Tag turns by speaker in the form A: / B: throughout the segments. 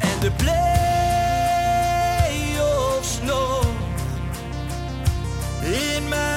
A: En de play-offs nog.
B: In mij.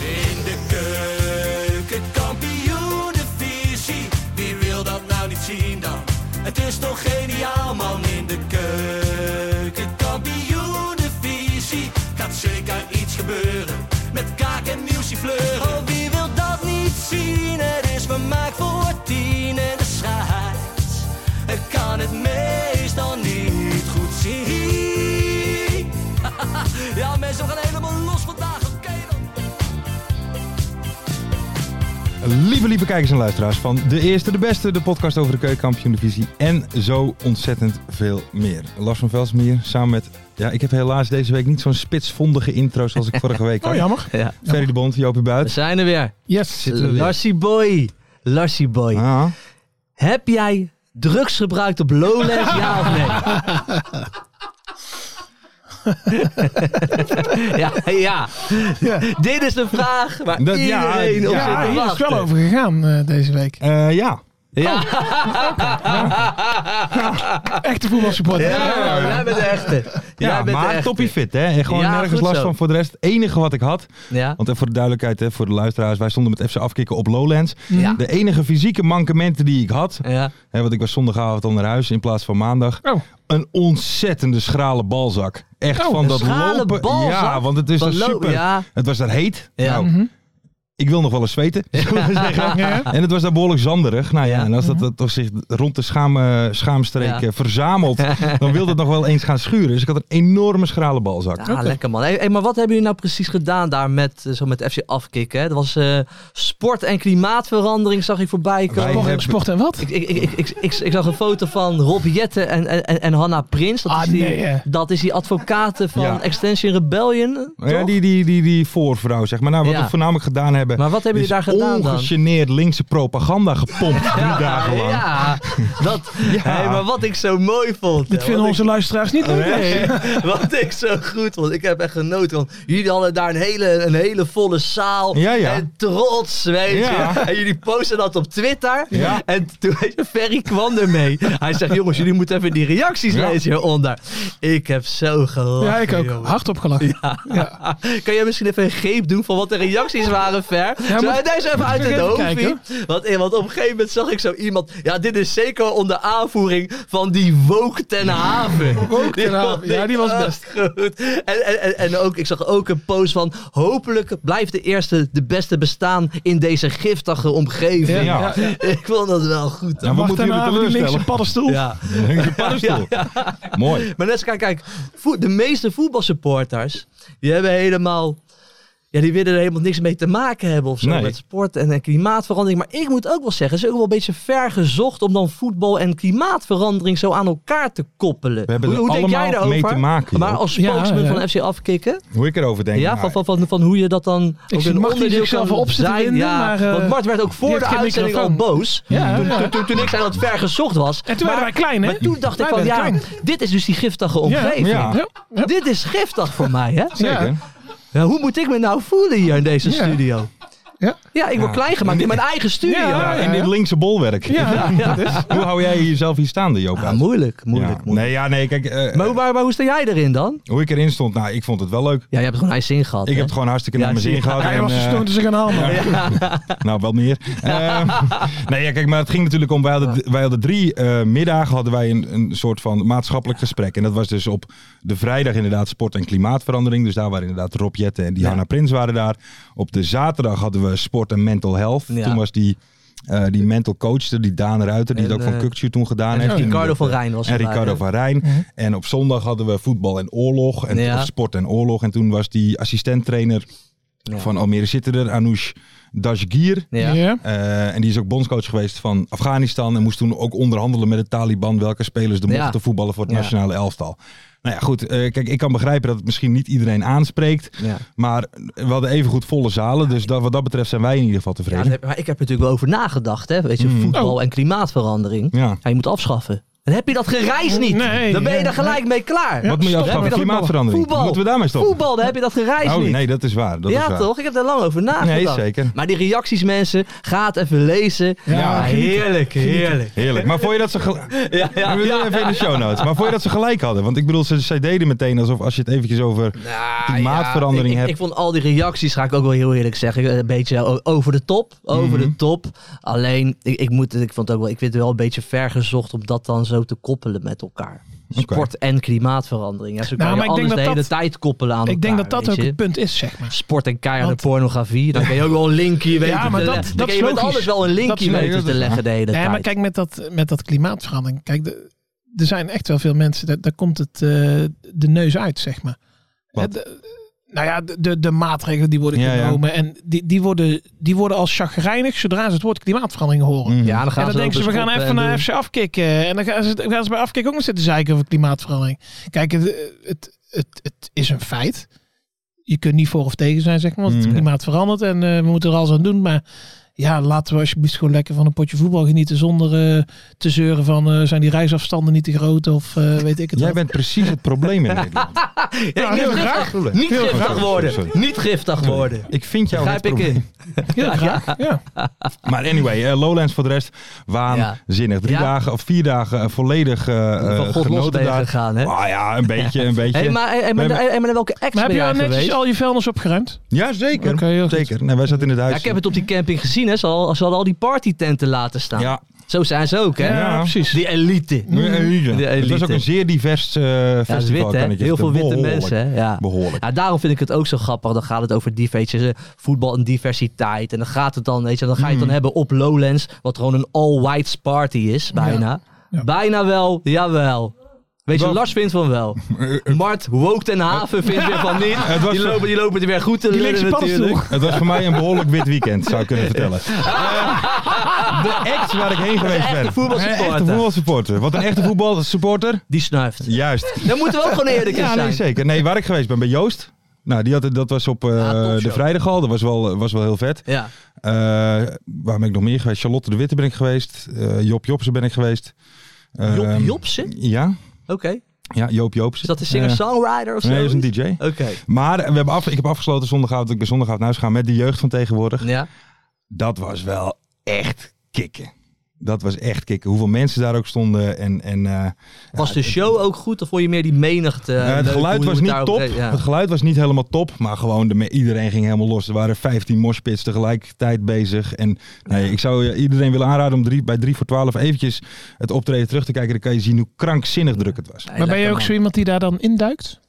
A: In de keuken, kampioenenvisie. Wie wil dat nou niet zien dan? Het is toch geniaal man in de keuken, kampioenenvisie. Gaat zeker iets gebeuren met kaak en nieuwsje fleuren. Oh, wie wil dat niet zien? Het is vermaakt voor tien en de scheids. Ik kan het meestal niet goed zien. Ja, mensen, we gaan helemaal los vandaag. Oké dan.
C: Lieve, lieve kijkers en luisteraars van De Eerste, De Beste, de podcast over de keukenkampioen divisie en zo ontzettend veel meer. Lars van Velsmeer samen met, ja ik heb helaas deze week niet zo'n spitsvondige intro zoals ik vorige week had.
D: Oh, jammer.
E: Ja,
C: Ferry de Bond, Joopie
E: we
C: Buit.
E: zijn er weer.
D: Yes. Nou,
C: we weer.
E: Larsie boy. Larsie boy.
C: Ah,
E: Heb jij drugs gebruikt op Lowlands, ja of nee? ja, ja.
D: Ja.
E: Dit is de vraag waar
C: Dat- ja,
E: iedereen op
C: ja,
E: zit
D: Ja,
E: te
D: hier is
E: wachten.
D: het wel over gegaan eh, deze week.
C: eh, ja,
E: Ja,
D: Echte voetbalsupporter.
E: Ja, jij bent de echte.
C: ja
E: jij bent de
C: maar
E: echte.
C: toppie fit hè. En Gewoon
E: Ja,
C: nergens
E: goed
C: last
E: zo.
C: van voor de rest. Het enige wat ik had,
E: Ja.
C: want even voor de duidelijkheid hè, voor de luisteraars, wij stonden met FC Afkikken op Lowlands.
E: Ja.
C: De enige fysieke mankementen die ik had,
E: ja.
C: hè, want ik was zondagavond al naar huis in plaats van maandag.
D: Oh.
C: een ontzettende schrale balzak. Echt
D: Oh,
C: van
D: een
C: dat
E: schrale
C: lopen.
E: balzak?
C: Ja, want het is
E: Van
C: daar
E: lopen,
C: super.
E: ja.
C: Het was daar heet.
E: Ja.
C: Nou,
D: Mhm.
C: ik wil nog wel eens zweten. zullen we zeggen. En het was daar behoorlijk zanderig. Nou ja,
E: Ah. Ja. Mhm.
C: en als dat, dat toch zich rond de schaam, eh, schaamstreek
E: Ja.
C: eh, verzamelt, dan wil dat nog wel eens gaan schuren. Dus ik had een enorme schrale balzak.
E: Ja, lekker man. Hey, hey, maar wat hebben jullie nou precies gedaan daar met, eh, zo met FC Afkikken? hè? Dat was eh, sport en klimaatverandering, zag ik voorbij komen.
C: Wij
D: Sport,
C: hebben-
D: sport en wat?
E: Ik, ik, ik, ik, ik, ik, ik zag een foto van Rob Jette en, en, en Hanna Prins. Dat,
D: Ah,
E: is die,
D: nee, hè.
E: dat is die advocaten van
C: Ja.
E: Extension Rebellion.
C: Maar ja,
E: toch?
C: die, die, die, die voorvrouw, zeg maar. Nou, wat
E: Ja.
C: we voornamelijk gedaan hebben.
E: Maar wat hebben
C: is
E: jullie daar gedaan dan?
C: ongegeneerd linkse propaganda gepompt drie dagen lang.
E: Ja, dat, Hey, maar wat ik zo mooi vond.
D: Dit
E: hè,
D: vinden
E: wat
D: onze luisteraars niet leuk.
E: Nee, wat ik zo goed vond. Ik heb echt genoten. Want jullie hadden daar een hele, een hele volle zaal.
C: Ja, ja.
E: En trots, weet je.
C: Ja.
E: En jullie posten dat op Twitter.
C: Ja.
E: En toen weet je, Ferry kwam ermee. Hij zegt, jongens, jullie moeten even die reacties
C: Ja.
E: lezen hieronder. Ik heb zo gelachen,
D: Ja, ik ook.
E: jongen.
D: Hardop gelachen. Ja.
E: Kan jij misschien even een greep doen van wat de reacties waren, Ver? Ja,
D: moet-
E: deze even uit
D: ik
E: het
D: even
E: hoofd
D: kijken?
E: zien? Want, eh, want op een gegeven moment zag ik zo iemand... Ja, dit is zeker onder aanvoering van die Woke ten Haven.
D: Woke ten Haven.
E: vond
D: Ja,
E: ik
D: die was
E: echt
D: best.
E: Goed. En, en, en, en ook, ik zag ook een post van... Hopelijk blijft de eerste de beste bestaan in deze giftige omgeving.
C: Ja.
E: Ik vond dat wel goed.
C: Ja, we
D: Wacht
C: moeten jullie
D: daarna die linkse
C: teleurstellen.
D: paddenstoel.
E: Ja.
C: Linkse paddenstoel. Mooi.
E: Maar net, kijk, kijk voet- de meeste voetbalsupporters, die hebben helemaal... Ja, die willen er helemaal niks mee te maken hebben of zo.
C: Nee.
E: Met sport en, en klimaatverandering. Maar ik moet ook wel zeggen, het is ook wel een beetje ver gezocht om dan voetbal en klimaatverandering zo aan elkaar te koppelen.
C: We hebben
E: hoe
C: er
E: hoe denk jij
C: allemaal
E: daarover?
C: mee te maken, joh.
E: maar als
D: Ja,
E: spokesman
D: ja.
E: van FC afkicken,
C: Hoe ik erover denk.
E: ja,
C: nou,
E: van, van, van, van hoe je dat dan ook
D: zie
E: een
D: Mart die
E: onderdeel
D: zichzelf
E: kan
D: op zit te
E: zijn.
D: winden,
E: ja,
D: maar, eh,
E: want Mart werd ook
D: die
E: voor
D: heeft
E: de
D: geen
E: uitzending al
D: microfoon.
E: boos.
D: Ja.
E: Toen, toen, toen, toen ik zei dat het ver gezocht was.
D: En toen werden wij klein, hè?
E: Maar toen dacht ik
D: Wij
E: van,
D: werden
E: ja, Ah.
D: klein.
E: dit is dus die giftige omgeving.
C: Ja.
D: Ja. Ja.
E: Dit is giftig voor mij, hè?
C: Zeker.
E: Ja, hoe moet ik me nou voelen hier in deze
D: Ja.
E: studio?
D: Ja.
E: Ja, ik word
C: Ja.
E: klein gemaakt in mijn eigen studio.
D: Ja,
C: Ja,
E: Ja,
C: Nou,
E: dus.
C: in dit linkse bolwerk.
D: Ja.
C: Hoe hou jij jezelf hier staande, Joop? Ja,
E: moeilijk, moeilijk, moeilijk.
C: Nee, ja, nee, kijk, eh,
E: Maar, hoe- maar, maar hoe sta jij erin dan?
C: hoe ik erin stond, nou, ik vond het wel leuk.
E: Ja, je hebt gewoon een zin gehad.
C: Ik
E: hè?
C: heb het gewoon hartstikke naar
E: Ja,
C: mijn zin
E: zie je.
C: gehad.
D: Hij
C: en,
D: was
C: eh,
D: gestoond als een kanaal. man.
C: nou, wel meer. Eh, nee, ja, kijk, maar het ging natuurlijk om, wij hadden, wij hadden drie eh, middagen hadden wij een, een soort van maatschappelijk gesprek. En dat was dus op de vrijdag inderdaad sport en klimaatverandering. Dus daar waren inderdaad Rob Jetten en Diana Prins waren daar. Op de zaterdag hadden we sport en mental health.
E: Ja.
C: Toen was die... eh, die mental coach, die Daan Ruiter, die
E: En,
C: het ook van
E: eh,
C: Kukcu toen gedaan
E: en
C: heeft. Die
E: Ricardo
C: dat,
E: van
C: eh,
E: Rijn was
C: En
E: erbij,
C: Ricardo
E: hè?
C: van Rijn. En op zondag hadden we voetbal en oorlog. En,
E: Ja.
C: of sport en oorlog. En toen was die assistenttrainer
E: Ja.
C: Van Almere zitten er, Anoush Dashgir.
E: Ja.
D: Ja.
C: Eh, en die is ook bondscoach geweest van Afghanistan. En moest toen ook onderhandelen met de Taliban welke spelers er
E: Ja.
C: mochten voetballen voor het
E: Ja.
C: nationale elftal. Nou ja, goed. eh, kijk, ik kan begrijpen dat het misschien niet iedereen aanspreekt.
E: Ja.
C: Maar we hadden evengoed volle zalen. Dus dat, wat dat betreft zijn wij in ieder geval
E: Ja,
C: tevreden.
E: dat heb- maar ik heb er natuurlijk wel over nagedacht, hè? Weet je, voetbal en klimaatverandering.
C: Ja.
E: Ja, je moet afschaffen. Dan heb je dat gereis niet.
D: Nee,
E: dan ben je
D: ja,
E: er gelijk mee klaar.
C: Wat moet je
E: Dan heb
C: afschaffen?
E: dat-
C: Klimaatverandering.
E: Voetbal.
C: Moeten we daarmee stoppen?
E: Voetbal, dan heb je dat gereis
C: oh
E: niet.
C: nee, dat is waar. Dat is
E: ja,
C: waar.
E: toch? Ik heb daar lang over nagedacht.
C: Nee, zeker.
E: Maar die reacties, mensen, ga het even lezen.
C: Ja,
E: heerlijk, heerlijk.
C: Heerlijk. Maar vond je dat ze gelijk...
E: Ja, ja,
C: We willen
E: ja.
C: even in de show notes. Maar vond je dat ze gelijk hadden? Want ik bedoel, ze, zij deden meteen alsof als je het eventjes over
E: Nou, ja,
C: klimaatverandering
E: ik, ik,
C: hebt.
E: ik vond al die reacties, ga ik ook wel heel eerlijk zeggen, een beetje o- over de top. Over
C: Mhm.
E: de top. Alleen, ik, ik, moet, het- ik, vond het ook wel, ik vind het wel een beetje vergezocht om dat dan zo te koppelen met elkaar. Sport en klimaatverandering. Ja, ze
D: Nou, maar
E: kan
D: ik
E: je anders
D: denk
E: de
D: dat
E: hele
D: dat-
E: tijd koppelen aan
D: Ik denk dat
E: elkaar,
D: dat
E: weet
D: ook
E: je.
D: het punt is, zeg maar.
E: Sport en keiharde
D: Want-
E: pornografie. Dan kun je ook wel een linkje weten
D: maar
E: te
D: dat-
E: le-
D: dat
E: dan kun
D: is
E: je met
D: logisch.
E: alles wel een
D: Dat
E: linkje
D: is-
C: nee,
E: weten
C: dat
E: te
C: is-
E: leggen de hele
D: Nee, maar
E: tijd.
D: kijk, met dat, met dat klimaatverandering. Kijk, de- er zijn echt wel veel mensen, daar, daar komt het eh, de neus uit, zeg maar.
C: Wat?
D: Hè, de- nou ja, de- de, de maatregelen die worden
C: Ja, ja.
D: genomen. En die, die, worden, die worden als chagrijnig zodra ze het woord klimaatverandering horen.
C: Mhm.
E: ja, dan gaan
D: en dan
E: ze
D: denken ze, we gaan even
E: eh,
D: naar FC afkicken. En dan gaan ze, dan gaan ze bij afkicken ook nog zitten zeiken over klimaatverandering. Kijk, het, het, het, het is een feit. Je kunt niet voor of tegen zijn, zeg maar, want het
C: Mm.
D: klimaat verandert en eh, we moeten er alles aan doen. Maar ja, laten we alsjeblieft gewoon lekker van een potje voetbal genieten zonder eh, te zeuren van eh, zijn die reisafstanden niet te groot of eh, weet ik het
C: Jij
D: wat.
C: bent precies het probleem in Nederland.
D: Ja, heel graag.
E: Niet
D: Heel
E: giftig
C: graag.
E: worden.
C: Sorry.
E: Niet giftig worden.
C: Ik vind jou het
E: Grijp ik
C: probleem.
E: in.
D: Heel graag. Ja.
C: Maar anyway, eh, Lowlands voor de rest waanzinnig. Drie
E: Ja.
C: dagen of vier dagen eh, volledig eh, eh,
E: Van God los
C: genoten
E: ben je
C: daar.
E: gegaan, hè?
C: Ah ja, een beetje, een beetje.
E: Hey, maar, hey, hey, maar,
C: Nee, maar-
E: hey, maar naar welke ex
D: Maar heb
E: ben
D: je
E: jij
D: al netjes
E: geweest?
D: al je vuilnis opgeruimd?
C: Ja, zeker.
D: Oké, heel goed.
C: zeker. Nee, wij zaten in het
E: Ja,
C: huis.
E: ik heb het op die camping gezien, hè. Ze hadden, ze hadden al die partytenten laten staan.
C: Ja.
E: Zo zijn ze ook, hè?
C: Ja,
D: precies.
E: Die elite.
C: Ja,
E: Mm. De
C: Het was
E: elite.
C: ook een zeer divers eh,
E: Ja,
C: festival.
E: dat is wit, hè?
C: kan ik je
E: Heel veel witte
C: vertellen.
E: mensen, hè? Ja.
C: Behoorlijk.
E: Ja, daarom vind ik het ook zo grappig. Dan gaat het over die, weet je, voetbal en diversiteit. En dan gaat het dan, weet je, dan ga je
C: Hmm.
E: het dan hebben op Lowlands. Wat gewoon een all-whites party is, bijna.
D: Ja.
E: Bijna wel, jawel. Weet je,
C: Wel-
E: Lars vindt van wel. Mart Wook ten Haven vindt weer van
C: Eh, Het
E: niet.
C: was
E: Die
C: zo-
E: lopen, die lopen er weer goed te
D: Die linkse
E: lullen natuurlijk.
D: paddenstoel.
C: Het was voor mij een behoorlijk wit weekend, zou ik kunnen vertellen. Eh, de ex waar ik heen geweest ben.
E: echte voetbalsupporter.
C: Een echte voetbalsupporter. Wat een echte voetbalsupporter.
E: Die snuift.
C: Juist.
E: Daar moeten we ook gewoon eerlijk in
C: Ja,
E: zijn.
C: nee, zeker. Nee, waar ik geweest ben bij Joost. Nou, die had, het- dat was op eh,
E: Ah, topshow.
C: de vrijdag al. Dat was wel, was wel heel vet.
E: Ja.
C: Eh, waar ben ik nog meer geweest? Charlotte de Witte ben ik geweest. Eh, Joop Jobsen ben ik geweest. Eh,
E: Job, Jobsen?
C: Ja,
E: Oké.
C: ja, Joop Jobsen.
E: Is dat een singer-songwriter of zo?
C: Eh, nee, dat is een DJ.
E: Oké.
C: Maar we hebben af, ik heb afgesloten zondagavond. dat Ik ben zondagavond naar huis gaan met de jeugd van tegenwoordig.
E: Ja.
C: dat was wel echt kicken. Dat was echt kicken. Hoeveel mensen daar ook stonden. En, en, eh,
E: Was de show ook goed of vond je meer die menigte?
C: ja, het
E: leuk, hoe-
C: geluid
E: hoe
C: was
E: het
C: niet
E: daarop
C: top.
E: reed? Ja.
C: Het geluid was niet helemaal top. Maar gewoon de, me- iedereen ging helemaal los. Er waren 15 moshpits tegelijkertijd bezig. En nee, ik zou eh, iedereen willen aanraden om drie, bij 3 voor 12 eventjes het optreden terug te kijken. Dan kan je zien hoe krankzinnig druk het was.
E: Nee,
D: Maar ben je
E: lekker,
D: ook
E: man.
D: zo iemand die daar dan induikt?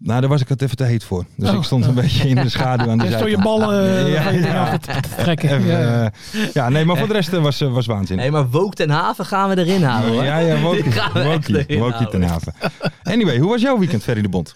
C: Nou, daar was ik het even te heet voor. Dus
D: Oh.
C: ik stond een beetje in de schaduw aan de
D: Dus door je
C: zijkant.
D: ballen eh,
C: Ja,
D: van je ding
C: ja.
D: af te- te trekken.
C: Even,
D: Ja.
C: eh, ja, nee, maar voor de rest eh, was, eh, was waanzinnig.
E: Nee, maar Wook ten Haven gaan we erin houden hoor.
C: Ja, ja,
E: Die gaan we
C: Wokie.
E: echt
C: Wokie,
E: erin
C: Wokie ten
E: houden.
C: haven. Anyway, hoe was jouw weekend, Ferry de Bond?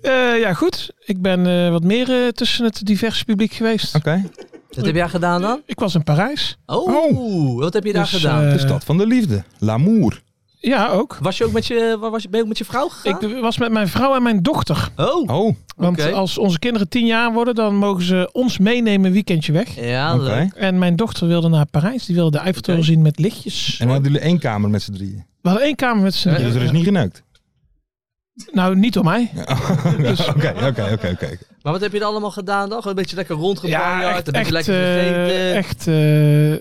D: Eh, ja, goed. Ik ben eh, wat meer eh, tussen het diverse publiek geweest.
C: Oké.
E: Wat heb jij gedaan dan?
D: Ik was in Parijs.
E: Oh, wat heb je daar
D: Dus,
E: gedaan?
D: eh,
C: De stad van de liefde. L'amour.
D: Ja, ook.
E: was je ook met je, wa- was je, ben je ook met je vrouw gegaan?
D: Ik was met mijn vrouw en mijn dochter.
E: oh,
C: Oh,
D: Want
E: Oké.
D: als onze kinderen tien jaar worden, dan mogen ze ons meenemen een weekendje weg.
E: ja,
C: oké.
E: leuk.
D: En mijn dochter wilde naar Parijs. Die wilde de Eiffeltoren
E: Oké.
D: zien met lichtjes.
C: En dan hadden jullie één kamer met z'n drieën.
D: We hadden één kamer met z'n
C: Dus er is
D: drieën.
C: niet geneukt.
D: Nou, niet door mij.
C: Dus, Oké, oké, oké, oké.
E: Maar wat heb je er allemaal gedaan dan? Gewoon een beetje lekker rondgebracht, een beetje
D: echt,
E: lekker gegeten.
D: eh, echt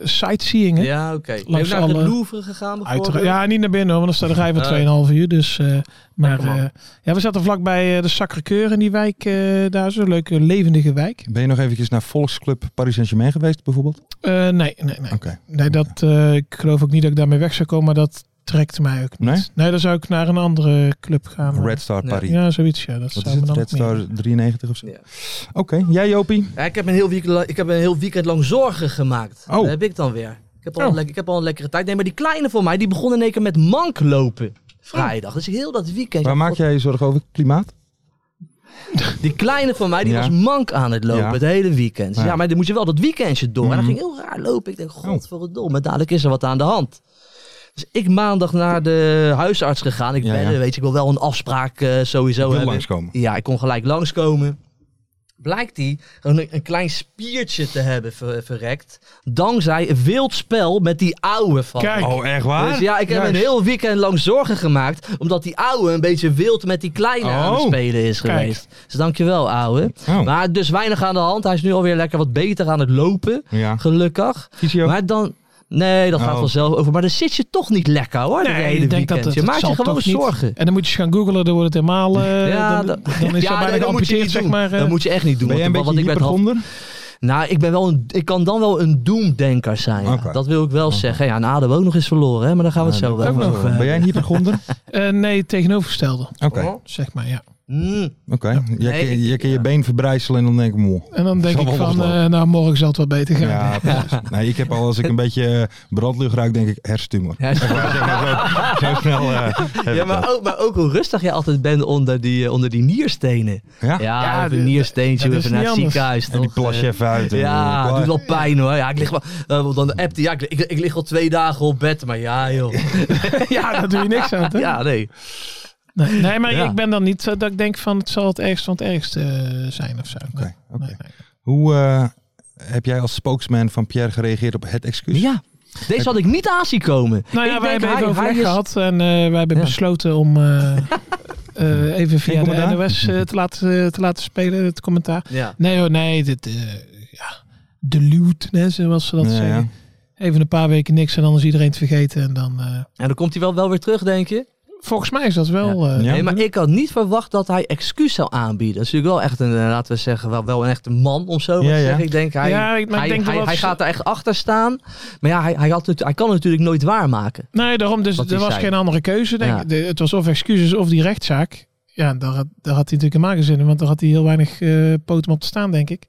D: eh, sightseeing. Hè?
E: ja, oké. Ben je
D: Langs
E: ook naar
D: alle-
E: het Louvre gegaan bijvoorbeeld?
D: Uiteraard. Ja, niet naar binnen hoor, want dan staat de rij van 2,5 uur. Dus, eh, maar
E: Lekker man.
D: eh, ja, we zaten vlakbij eh, de Sacré-Cœur in die wijk. eh, daar zo'n leuke levendige wijk.
C: Ben je nog eventjes naar Volksclub Paris Saint-Germain geweest, bijvoorbeeld? Oké.
D: Eh, nee, nee, nee. nee dat, eh, ik geloof ook niet dat ik daarmee weg zou komen, maar dat trekt mij ook niet.
C: Nee?
D: Nee, dan zou ik naar een andere club gaan. eh.
C: Red Star
E: Ja.
C: Paris.
D: Ja, zoiets. Ja, dat
C: Wat is
D: zou me
C: het?
D: dan
C: Red
D: ook meer-
C: Star 93 of zo?
E: Ja.
C: Oké, jij Jopie?
E: Ja, ik, heb een heel weekend, la- ik heb een heel weekend lang zorgen gemaakt.
C: Oh.
E: Dat heb ik dan weer. Ik heb, al een
D: Oh.
E: lek- ik heb al een lekkere tijd. Nee, maar die kleine voor mij, die begon in één keer met mank lopen. Vrijdag. Dus heel dat weekend.
C: Waar maak jij je zorgen over? Klimaat?
E: Die kleine van mij, die
C: Ja.
E: was mank aan het lopen
C: Ja.
E: het hele weekend. Dus Ja,
C: Ja.
E: maar dan moet je wel dat weekendje door. En dat
C: Mhm. Oh.
E: ging heel raar lopen. Ik denk, godverdomme, dadelijk is er wat aan de hand. Dus ik maandag naar de huisarts gegaan. Ik
C: Ja,
E: bellen,
C: ja.
E: weet je, ik wil wel een afspraak eh, sowieso
C: wil
E: hebben.
C: langskomen.
E: Ja, ik kon gelijk langskomen. Blijkt die gewoon een, een klein spiertje te hebben ver- verrekt. Dankzij een wild spel met die ouwe van
D: Kijk.
C: Oh, echt waar?
E: dus ja, ik heb een
C: Juist.
E: heel weekend lang zorgen gemaakt. Omdat die ouwe een beetje wild met die kleine aan het
C: Oh,
E: spelen is
D: kijk.
E: geweest. Dus dankjewel, ouwe.
C: Oh.
E: Maar dus weinig aan de hand. Hij is nu alweer lekker wat beter aan het lopen.
C: Ja.
E: Gelukkig.
C: Fysio?
E: Maar dan... Nee, dat gaat
C: Oh.
E: vanzelf over. Maar dan zit je toch niet lekker hoor. dat hele
D: ik denk
E: weekend.
D: dat het,
E: je
D: het
E: maakt je
D: zal
E: gewoon
D: toch niet.
E: zorgen.
D: En dan moet je eens gaan googlen, dan wordt het helemaal... eh,
E: Ja,
D: dan,
E: dat-
D: dan is
E: Ja,
D: dat
E: nee,
D: bijna
E: dat moet je
D: geamputeerd,
E: niet
D: zeg
E: doen.
D: maar. eh.
E: Dat moet je echt niet doen.
C: Ben jij een
E: want, want
C: beetje
E: ik ben half
C: hypergonder?
E: Nou, ik, ben wel een, ik kan dan wel een doemdenker zijn. ja.
C: Oké.
E: Dat wil ik wel zeggen. Ja, en Adem ook nog eens verloren, hè? maar daar gaan we het Oh, zo wel
D: ook
E: over
D: nog.
E: hebben.
C: Ben jij een hypergonder?
D: Eh, nee, het tegenovergestelde,
C: Oké, oké.
D: zeg maar, ja.
E: Mm.
C: Jij
E: Oh. Nee,
C: kun-
E: ik-
C: Jij kan je been verbrijzelen en dan denk ik, moe.
D: En dan denk
C: Zal
D: ik
C: wel
D: van,
C: loslopen.
D: eh, nou, morgen zal het wel beter gaan.
C: Ja, precies. Nee, ik heb al, als ik een beetje eh, brandlucht ruik, denk ik hersentumor.
E: Ja,
C: Zeg maar, zeg maar zo, zo snel. eh, heb ik
E: Ja,
C: dat.
E: maar ook, maar ook hoe rustig jij altijd bent onder die, eh, onder die nierstenen.
C: ja?
E: Ja,
D: Ja,
E: even
D: de-
E: een niersteentje,
D: dat is
E: even naar het
D: niet anders.
E: ziekenhuis.
C: En die
E: toch? eh,
C: plas je even uit. en-
E: Ja,
C: klaar.
E: doet wel pijn hoor. Ja, ik lig wel, eh, want dan appte, ja, ik, ik, ik lig al twee dagen op bed, maar ja joh.
D: Ja, daar doe je niks aan, hè?
E: Ja, nee.
D: Nee, nee, maar
E: Ja.
D: ik ben dan niet zo dat ik denk van, het zal het ergste van het ergste eh, zijn of zo. Nee,
C: Oké, oké.
D: nee, nee.
C: Hoe eh, heb jij als spokesman van Pierre gereageerd op het excuus?
E: Ja, deze had ik niet aan zien komen.
D: Nou ja,
E: ik
D: wij
E: denk,
D: hebben even
E: hij- hij
D: overleg
E: is-
D: gehad en eh, wij hebben
E: Ja.
D: besloten om eh, eh, even via de
C: commentaar?
D: NOS eh, te, laten, te laten spelen, het commentaar.
E: Ja.
D: Nee hoor, nee, dit, eh ja, de loot, hè, zoals ze dat
C: Ja,
D: zeggen.
C: ja.
D: Even een paar weken niks en dan is iedereen het vergeten en dan... eh,
E: En dan komt hij wel, wel weer terug, denk je?
D: volgens mij is dat wel... eh,
C: Ja.
E: nee, maar ik had niet verwacht dat hij excuus zou aanbieden. Dat is natuurlijk wel echt een, eh, laten we zeggen, wel, wel een echte man of zo. maar
C: Ja,
E: te
C: ja.
E: zeggen. Ik denk, hij,
D: Ja, ik- maar ik
E: hij,
D: denk dat
E: hij,
D: dat
E: hij
D: ze-
E: gaat er echt achter staan. Maar ja, hij, hij, had het, hij kan het natuurlijk nooit waarmaken.
D: Nee, daarom. Dus
E: Wat
D: er
E: hij
D: was
E: zei.
D: geen andere keuze. Denk
E: Ja.
D: ik. De- het was of excuses of die rechtszaak. Ja, daar, had- daar had hij natuurlijk helemaal geen zin in. Want daar had hij heel weinig eh poten op te staan, denk ik.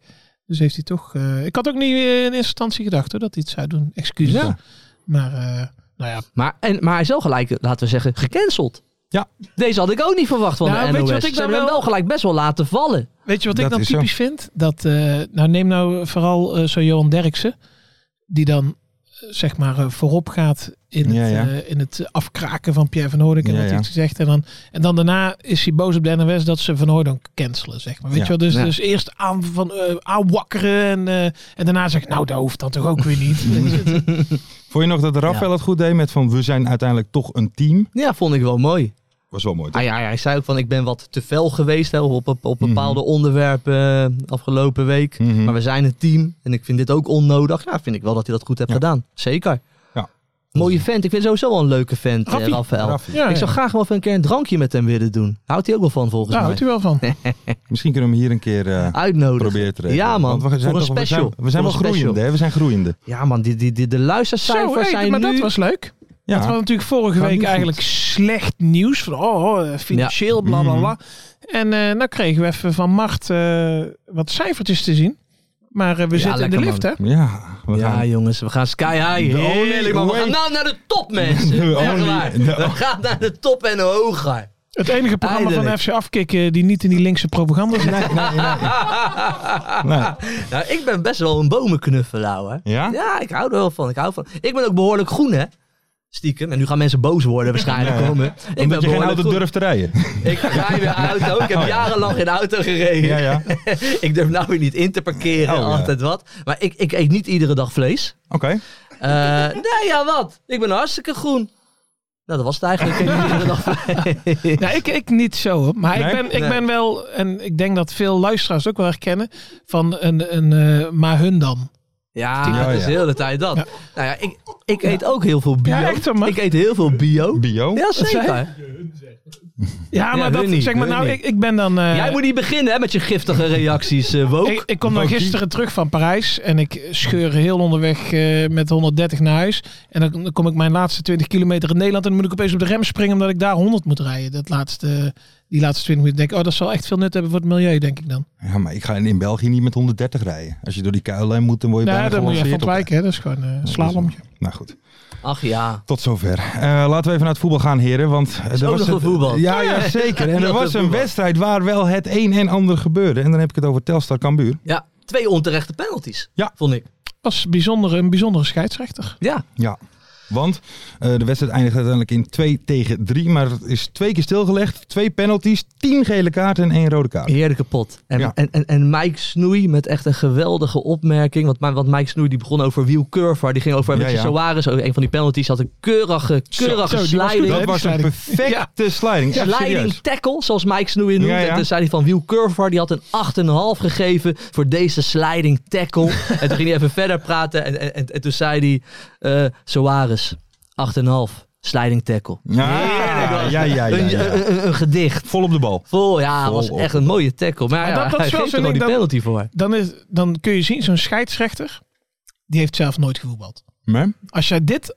D: Dus heeft hij toch... eh, ik had ook niet eh, in eerste instantie gedacht hoor, dat hij het zou doen. Excuses.
C: Ja.
D: Maar eh, nou ja.
E: Maar, en, maar hij is wel gelijk, eh, laten we zeggen, gecanceld.
C: Ja.
E: Deze had ik ook niet verwacht van
D: Nou,
E: de
D: weet je
E: NOS.
D: wat ik
E: Ze
D: dan
E: hebben hem
D: wel-
E: wel gelijk best wel laten vallen.
D: Weet je wat ik
C: Dat
D: dan
C: is zo.
D: typisch vind? Dat, eh, nou neem nou vooral eh, zo Johan Derksen. Die dan eh, zeg maar eh, voorop gaat in,
C: Ja,
D: het,
C: ja.
D: eh, in het afkraken van Pierre van Hoornik. En
C: Ja,
D: wat hij
C: ja.
D: heeft gezegd. En dan, en dan daarna is hij boos op de NOS dat ze van Hoornik cancelen. Zeg maar. Weet
C: Ja.
D: je wel? Dus,
E: Ja.
D: dus eerst aan, van, eh, aanwakkeren. En, eh, en daarna zegt nou dat hoeft dan toch ook weer niet.
C: Vond je nog dat Rafael het goed deed met van we zijn uiteindelijk toch een team?
E: Ja, vond ik wel mooi.
C: Was wel mooi. toch?
E: Hij, Ah hij, hij zei ook van, ik ben wat te fel geweest hè, op, op, op bepaalde onderwerpen eh, afgelopen week.
C: Mhm.
E: Maar we zijn een team en ik vind dit ook onnodig. Ja, vind ik wel dat hij dat goed heeft
C: Ja.
E: gedaan. Zeker.
C: Ja.
E: Mooie vent. Ik vind sowieso wel een leuke vent, eh,
D: Raffie.
E: Rafael.
C: Raffie.
D: ja,
E: Ik zou
D: ja.
E: graag wel even een keer een drankje met hem willen doen. Houdt hij ook wel van volgens
D: Daar
E: mij.
D: houdt hij wel van.
C: Misschien kunnen we hem hier een keer eh,
E: Uitnodigen.
C: proberen te regelen.
E: Ja man,
C: Want we zijn
E: voor een
C: toch- we zijn-
E: special.
C: We zijn
E: Voor
C: wel
E: een special.
C: groeiende, hè? We zijn groeiende.
E: Ja man, die, die, die, de
D: Zo,
E: luistercijfers
D: hey,
E: zijn
D: maar
E: nu...
D: dat was leuk.
C: Ja.
D: Dat was natuurlijk vorige
C: Gaat
D: week
C: nu
D: eigenlijk slecht nieuws. Van, oh, eh, financieel, bla
E: Mm.
D: bla bla. En eh nou kregen we even van Mart eh, wat cijfertjes te zien. Maar eh, we
E: Ja,
D: zitten in de
E: lekker,
D: lift, hè?
C: Ja, we
E: ja,
C: gaan.
E: jongens, we gaan sky high.
C: The only
E: Heerlijk, man. We
C: way-
E: gaan nou naar de top, mensen.
C: The
E: Echt
C: only-
E: waar.
C: the-
E: We gaan naar de top en hoger.
D: Het enige programma
E: Eindelijk.
D: van FC Afkikken die niet in die linkse propaganda zit.
C: Nee, nee, nee. Nee.
E: Nou, ik ben best wel een bomenknuffelaar, hoor.
C: Ja?
E: Ja, ik hou er wel van. Ik hou van. Ik ben ook behoorlijk groen, hè? Stiekem. En nu gaan mensen boos worden waarschijnlijk.
C: Ja.
E: om me. Ik ben
C: Omdat je geen
E: behoorlijk
C: auto
E: groen.
C: durft te rijden.
E: Ik rij weer auto. Ik heb jarenlang in auto gereden.
C: Ja, ja. Oké.
E: Ik durf nou weer niet in te parkeren.
C: Oh, ja.
E: altijd wat. Maar ik, ik eet niet iedere dag vlees. Eh, nee, ja, wat? Ik ben hartstikke groen. Nou, dat was het eigenlijk. Ik eet niet iedere dag vlees.
D: Nou, ik, ik niet zo, hoor. maar
C: Nee?
D: ik, ben, ik
E: Nee.
D: ben wel, en ik denk dat veel luisteraars ook wel herkennen, van een, een eh, maar hun dan.
E: Ja,
C: Ja,
E: dat is
C: ja.
E: de hele tijd dat.
D: Ja.
E: Nou ja, ik, ik eet ook heel veel bio.
D: Ja, echt hoor, man.
E: ik eet heel veel bio.
C: Bio.
E: Ja,
D: zei
E: zeker.
D: Ja, maar
E: hun
D: dat,
E: niet,
D: zeg maar,
E: hun
D: nou,
E: niet.
D: ik, ik ben dan... eh,
E: Jij moet niet beginnen hè, met je giftige reacties, eh Woke.
D: Ik, ik kom nou
C: Ook die-
D: gisteren terug van Parijs en ik scheur heel onderweg eh, met 130 naar huis. En dan, dan kom ik mijn laatste 20 kilometer in Nederland en dan moet ik opeens op de rem springen omdat ik daar 100 moet rijden. Dat laatste, die die laatste 20 minuten denk ik, oh, dat zal echt veel nut hebben voor het milieu, denk ik dan.
C: Ja, maar ik ga in, in België niet met 130 rijden. Als je door die kuilen moet, dan word je
D: Nou,
C: bijna
D: dan moet je even
C: gelanceerd op-
D: ontwijken, hè. dat is gewoon eh, een slalomje.
C: Nou goed,
E: Ach ja.
C: tot zover. Eh, laten we even naar het voetbal gaan, heren. Want eh,
E: Is ook nog
C: een-
E: wel voetbal.
C: Ja, ja, zeker. En
E: Dat
C: er
E: is
C: was een
E: voetbal.
C: wedstrijd waar wel het een en ander gebeurde. En dan heb ik het over Telstar Cambuur.
E: Ja, twee onterechte penalties.
C: Ja.
E: Vond ik.
D: was bijzonder, een bijzondere scheidsrechter.
E: Ja.
C: Ja, want eh, de wedstrijd eindigt uiteindelijk in 2 tegen 3. Maar het is twee keer stilgelegd. Twee penalties, 10 gele kaarten en één rode kaart.
E: Heerlijke pot. En,
C: Ja.
E: en, en, en Mike Snoei met echt een geweldige opmerking. Want, Ma- want Mike Snoei die begon over Wiel Curvar. Die ging over
C: Ja,
E: ja,
C: ja.
E: Soares. Ook een van die penalties had een keurige, keurige
D: zo, die was
E: sliding.
D: goed,
C: Dat
D: die
C: was een
D: sliding.
C: perfecte sliding. Echt
E: Sliding
C: serieus.
E: tackle, zoals Mike Snoei noemt.
C: Ja, ja.
E: En toen zei hij van Wiel Curvar, die had een 8,5 gegeven voor deze sliding tackle. en toen ging hij even verder praten. En, en, en, en toen zei hij, eh Soares, 8,5, sliding tackle.
C: Ja, ja, ja, ja,
E: Een, eh,
C: ja.
E: een, een, een gedicht.
C: Vol op de bal.
E: Vol, ja,
C: Vol
E: was
C: op.
E: echt een mooie tackle. Maar, ja,
D: dat- dat
E: hij
D: is wel
E: geeft er
D: zo'n
E: wel die
D: ding dat-
E: penalty voor.
D: Dan, is, dan kun je zien, zo'n scheidsrechter, die heeft zelf nooit gevoetbald.
C: Maar,
D: Als jij dit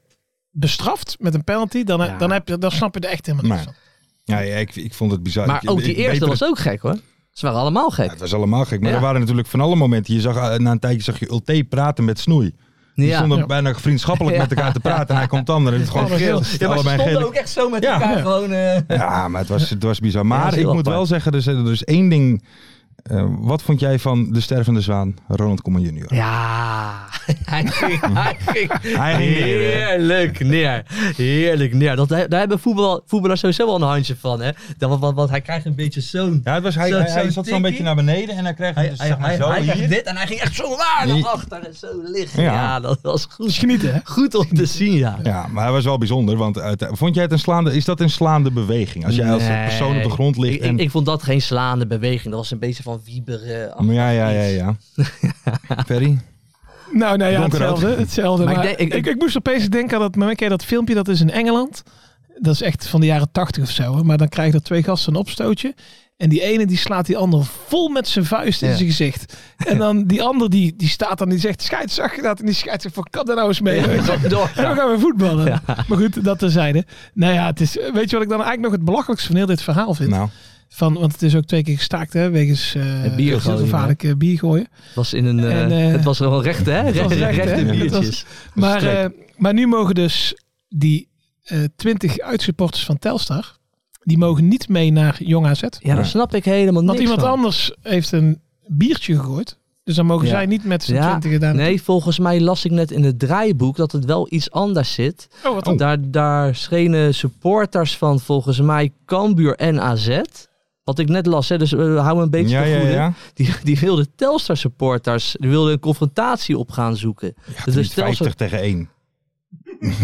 D: bestraft met een penalty, dan,
E: Ja.
D: dan, heb je, dan snap je er echt helemaal niks
C: maar,
D: van.
C: ja, ja, ik, ik vond het bizar.
E: Maar
C: Ik-
E: ook
C: ik
E: die eerste
C: weet
E: was ook gek hoor. Ze waren allemaal gek.
C: Het was allemaal gek, maar
E: Ja.
C: er waren natuurlijk van alle momenten. Je zag, eh, na een tijdje zag je Ulte praten met Snoei. Die
E: Ja.
C: stonden
D: Ja.
C: bijna vriendschappelijk met elkaar te praten. En hij komt dan en het is gewoon
D: Ja,
C: geel.
D: maar
E: Ja, maar ze
C: Allebei
E: stonden
C: gele-
E: ook echt zo met
C: Ja.
E: elkaar
C: Ja.
E: gewoon... eh,
C: Ja, maar het was, het was bizar. Maar
E: dat is
C: ik
E: heel
C: moet
E: apart.
C: wel zeggen, er is, er is één ding. Eh, wat vond jij van de stervende zwaan, Ronald Koeman junior?
E: Ja, hij ging, hij ging
C: Hij ging neer, hè?
E: heerlijk neer. Heerlijk neer. Dat, daar hebben voetbal, voetballers sowieso wel een handje van. Hè? Dat, want, want, want hij krijgt een beetje zo'n...
C: Ja, het was, hij,
E: Zo-
C: hij, hij
E: zo'n
C: zat zo'n beetje
E: tikkie.
C: naar beneden en hij kreeg hem
E: Hij,
C: dus,
E: hij,
C: zeg maar
E: hij,
C: zo
E: hij
C: hier.
E: kreeg dit en hij ging echt zo waar
C: Nee.
E: naar achter en zo liggen.
C: Ja.
E: Ja, dat was goed.
D: Genieten, hè?
E: Goed om te zien, ja.
C: Ja, maar hij was wel bijzonder, want uit- vond jij het een slaande, is dat een slaande beweging? Als jij als
E: Nee.
C: persoon op de grond ligt
E: Ik,
C: en...
E: ik, ik vond dat geen slaande beweging. Dat was een beetje van wieberen.
C: Maar ja, ja, ja, ja. Ferry?
D: Nou, nou ja,
C: Donker
D: hetzelfde.
C: ook.
D: hetzelfde
E: Maar
D: maar
E: ik
D: ik,
E: denk- ik-
D: ik, moest opeens denken aan dat, maar ken je dat filmpje, dat is in Engeland. Dat is echt van de jaren tachtig of zo. hè. Maar dan krijgen er twee gasten een opstootje. En die ene die slaat die ander vol met zijn vuist in
E: Ja.
D: zijn gezicht. En dan die ander die, die staat dan die zegt, scheids, zag je dat? En die scheids zegt, van, kan daar nou eens mee? Weet je wel.
E: Door.
D: En dan gaan we voetballen. Maar goed, dat terzijde. Nou ja, het is, weet je wat ik dan eigenlijk nog het belachelijkste van heel dit verhaal vind?
C: Nou,
D: Van, want het is ook twee keer gestaakt, hè, wegens
E: Het
D: eh
E: bier gooien,
D: gevaarlijk eh, bier gooien.
E: Het was in een... eh,
D: En, eh,
E: het was wel recht, hè? Recht,
D: was
E: recht,
D: recht, hè? Het was-
E: biertjes.
D: Maar,
C: Strek.
D: eh, maar nu mogen dus die eh, twintig uitsupporters van Telstar, die mogen niet mee naar Jong AZ.
E: Ja, dat snap ik helemaal niet.
D: Want iemand anders heeft een biertje gegooid. Dus dan mogen
E: Ja.
D: zij niet met z'n
E: Ja,
D: twintigen gedaan.
C: Ehm,
E: Nee, volgens mij las ik net in het draaiboek dat het wel iets anders zit.
D: Oh, wat dan?
E: Daar, daar schenen supporters van volgens mij Cambuur en AZ. Wat ik net las, hè, dus eh, hou me een beetje
C: ja,
E: te
C: ja,
E: goede.
C: ja.
E: Die, die wilden Telstar supporters, die wilden een confrontatie op gaan zoeken. Dus
C: Het is 50 tegen 1.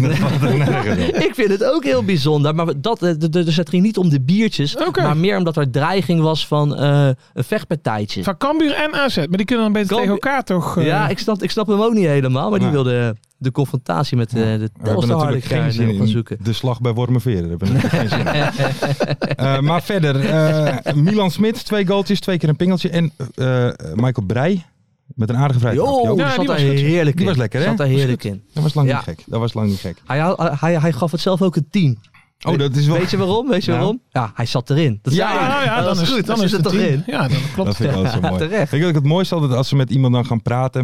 C: dat was er nergens op.
E: Ik vind het ook heel bijzonder. Maar dat, eh, d- d- dus het ging niet om de biertjes.
D: Oké.
E: Maar meer omdat er dreiging was van eh, een vechtpartijtje.
D: Van Cambuur en AZ, maar die kunnen dan beter
E: Cambuur-
D: tegen elkaar toch? eh,
E: Ja, ik snap, ik snap hem ook niet helemaal. Maar die
C: Nee.
E: wilde de confrontatie met eh, de
C: We hebben
E: Telstar harde
C: natuurlijk geen
E: kern
C: zin
E: op gaan
C: in
E: zoeken.
C: de slag bij Wormerveer. Daar hebben we natuurlijk geen zin in. Eh, maar verder, eh, Milan Smit, twee goaltjes, twee keer een pingeltje. En eh, eh, Michael Breij met een aardige vrijtrap.
E: Yo,
D: Ja,
E: die
D: die
E: zat daar
D: was goed.
E: heerlijk in.
C: Die was lekker, hè?
E: Zat daar
C: Was
E: heerlijk
C: goed.
E: in.
C: Dat was lang
E: Ja.
C: niet gek. Dat was lang niet gek.
E: Hij, hij, hij gaf het zelf ook een 10.
C: Oh, dat is wel...
E: Weet je waarom? Weet je
C: Ja.
E: waarom? Ja, hij zat erin. Dat
C: Ja,
E: zei
D: Ah,
E: ik.
D: ja,
E: Dat
D: dan
E: is
D: is
E: goed.
D: Dan
E: Dan
D: is
E: zit
D: het
E: er
D: erin.
E: erin.
D: Ja, dat
C: Dat
D: klopt.
C: vind ik altijd zo mooi.
E: terecht.
C: Weet je wat ik het mooiste altijd als ze met iemand dan gaan praten.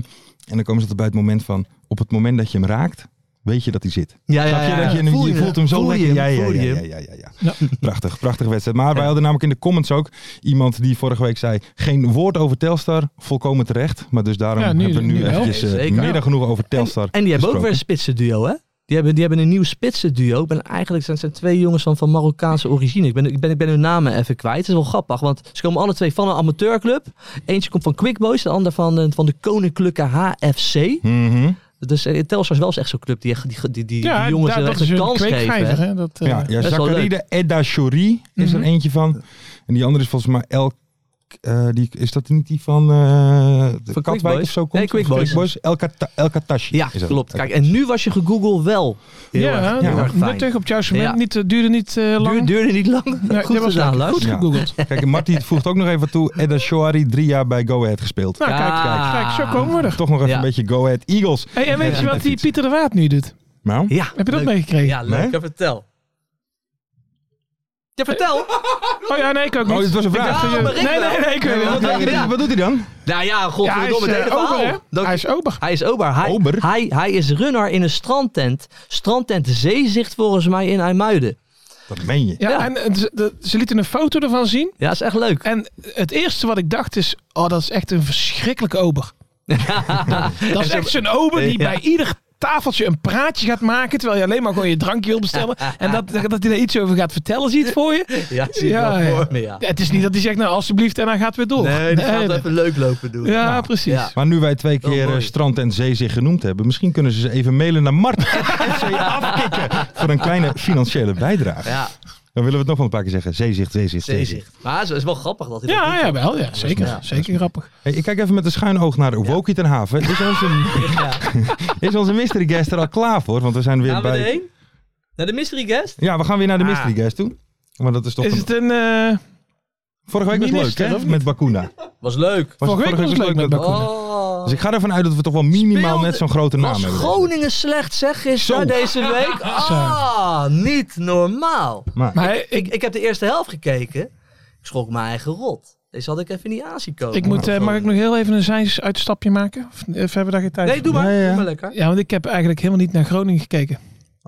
C: En dan komen ze tot bij het moment van, op het moment dat je hem raakt, weet je dat hij zit.
E: Ja,
C: Snap je dat je, hem-
E: Voel
C: je voelt hem zo
E: voel je
C: lekker. ja, ja,
E: voel je
C: ja,
E: hem.
C: ja, ja, ja, ja. Prachtig, prachtig wedstrijd. Maar wij hadden namelijk in de comments ook iemand die vorige week zei: geen woord over Telstar, volkomen terecht. Maar dus daarom
D: Ja, nu-
C: hebben we nu,
D: nu wel.
C: eventjes eh,
E: Nee, zeker.
C: meer dan genoeg over Telstar.
E: En die hebben ook
C: gesproken.
E: weer een spitsenduo, hè? Die hebben, die hebben een nieuw spitsenduo. Ik ben eigenlijk zijn, zijn twee jongens van, van Marokkaanse origine. Ik ben, ik, ben, ik ben hun namen even kwijt. Het is wel grappig, want ze komen alle twee van een amateurclub. Eentje komt van Quick Boys, de ander van, eh, van de Koninklijke HFC.
C: Mhm.
E: Dus eh, Telstar is wel eens echt zo'n club die, echt- die, die, die,
D: Ja,
E: die jongens
D: daar-
E: wel
D: dat
E: echt
D: is
E: een
D: een
E: kans geven.
D: kweekvijver.
E: hè?
D: hè, dat, eh,
C: Ja, ja
E: is wel
C: Zakaride Edda Shori is
D: Mhm.
C: er eentje van. En die andere is volgens mij El. eh, die, is dat niet die van, eh, de
E: Quick
C: Katwijk
E: Boys?
C: of zo? Komt?
E: Nee, Quick
C: Of
E: Boys.
C: El, Kata- El Katashi.
E: Ja,
C: is dat.
E: klopt. Kijk, en nu was je gegoogled wel heel
D: ja,
E: erg, heel
D: ja,
E: erg fijn.
D: nuttig op jouw cement.
E: Ja.
D: Niet, eh, duurde niet eh, lang.
E: Duur, duurde niet lang.
D: Nee,
E: Goed
D: dat was
E: gedaan,
D: lekker.
E: Lars.
D: Goed
C: Ja.
D: gegoogeld.
C: Kijk, en Marty voegt ook nog even toe. Edda Shori, drie jaar bij Go Ahead gespeeld.
D: Nou, kijk,
E: Ja.
D: kijk, kijk, zo komen we er.
C: Toch nog even
E: Ja.
C: een beetje Go Ahead Eagles.
D: Hey, en weet je wat die Pieter de Waard nu doet?
C: Nou?
E: Ja,
D: Heb je dat
E: leuk.
D: meegekregen?
E: Ja, leuk.
C: Nee?
E: Ja, Vertel. Ja, vertel.
D: Oh ja, nee, ik ook niet.
C: Oh, dit was een vraag.
E: Ja, maar ik
D: nee, nee, nee, ik weet
C: Wat,
D: het niet.
C: wat-
E: Ja.
C: wat doet hij dan?
E: Nou ja,
D: Ja, hij
E: godverdomme,
D: is,
E: het hele
D: eh, ober, hè?
E: verhaal. Dat-
D: Hij is ober.
E: Hij is ober. Hij,
C: Ober?
E: Hij, hij is runner in een strandtent. Strandtent Zeezicht volgens mij in IJmuiden.
C: Dat meen je.
D: Ja,
E: Ja.
D: en eh, ze, de- ze lieten een foto ervan zien.
E: Ja, is echt leuk.
D: En het eerste wat ik dacht is, oh, dat is echt een verschrikkelijke ober. dat is echt zo'n ober die
E: Ja.
D: bij ieder tafeltje een praatje gaat maken, terwijl je alleen maar gewoon je drankje wil bestellen. En dat, dat hij daar iets over gaat vertellen, ziet voor je.
E: Ja, zie je wel voor me, ja.
D: Het is niet dat hij zegt, nou alsjeblieft, en hij gaat weer door.
E: Nee, die gaat
D: dat-
E: even leuk lopen doen.
D: Ja, precies.
E: ja.
C: Maar nu wij twee
E: Wel
C: keer eh,
E: Oh, mooi.
C: strand en zee zich genoemd hebben, misschien kunnen ze ze even mailen naar Mart FC afkicken voor een kleine financiële bijdrage.
E: Ja,
C: Dan willen we het nog wel een paar keer zeggen. Zeezicht, zeezicht, zeezicht.
E: zeezicht. Maar het is wel grappig dat hij dat
D: Ja,
E: doet.
D: ja, wel. Ja, zeker.
E: Ja.
D: Zeker grappig.
C: Hey, ik kijk even met een schuin oog naar Woki ten Haven. Is onze, is onze mystery guest er al klaar voor? Want we zijn weer
E: Gaan we
C: bij...
E: erheen? Naar de mystery guest?
C: Ja, we gaan weer naar de
E: Ah.
C: mystery guest toe. Maar dat is toch...
D: Is
C: een-
D: het een... eh,
C: Vorige week was het leuk,
D: minister,
C: hè?
D: of niet?
C: Met Bakuna. Was
E: Was leuk.
C: het
D: Vorige week was het leuk met Bakuna.
E: Oh.
C: Dus ik ga ervan uit dat we toch wel minimaal
E: Speelde-
C: net zo'n grote naam
E: Was
C: hebben.
E: Groningen slecht, zeg eens,
C: Zo.
E: na deze week? Ah, niet normaal.
C: Maar,
D: maar ik,
E: Ik, ik heb de eerste helft gekeken. Ik schrok mijn eigen rot. Deze had ik even niet aanzien komen.
D: ik moet, eh, mag ik nog heel even een zijs-uitstapje maken? Of, eh, of hebben we daar geen tijd
E: Nee,
D: voor?
E: doe maar.
C: Ja, ja.
E: Doe maar lekker.
D: Ja, want ik heb eigenlijk helemaal niet naar Groningen gekeken.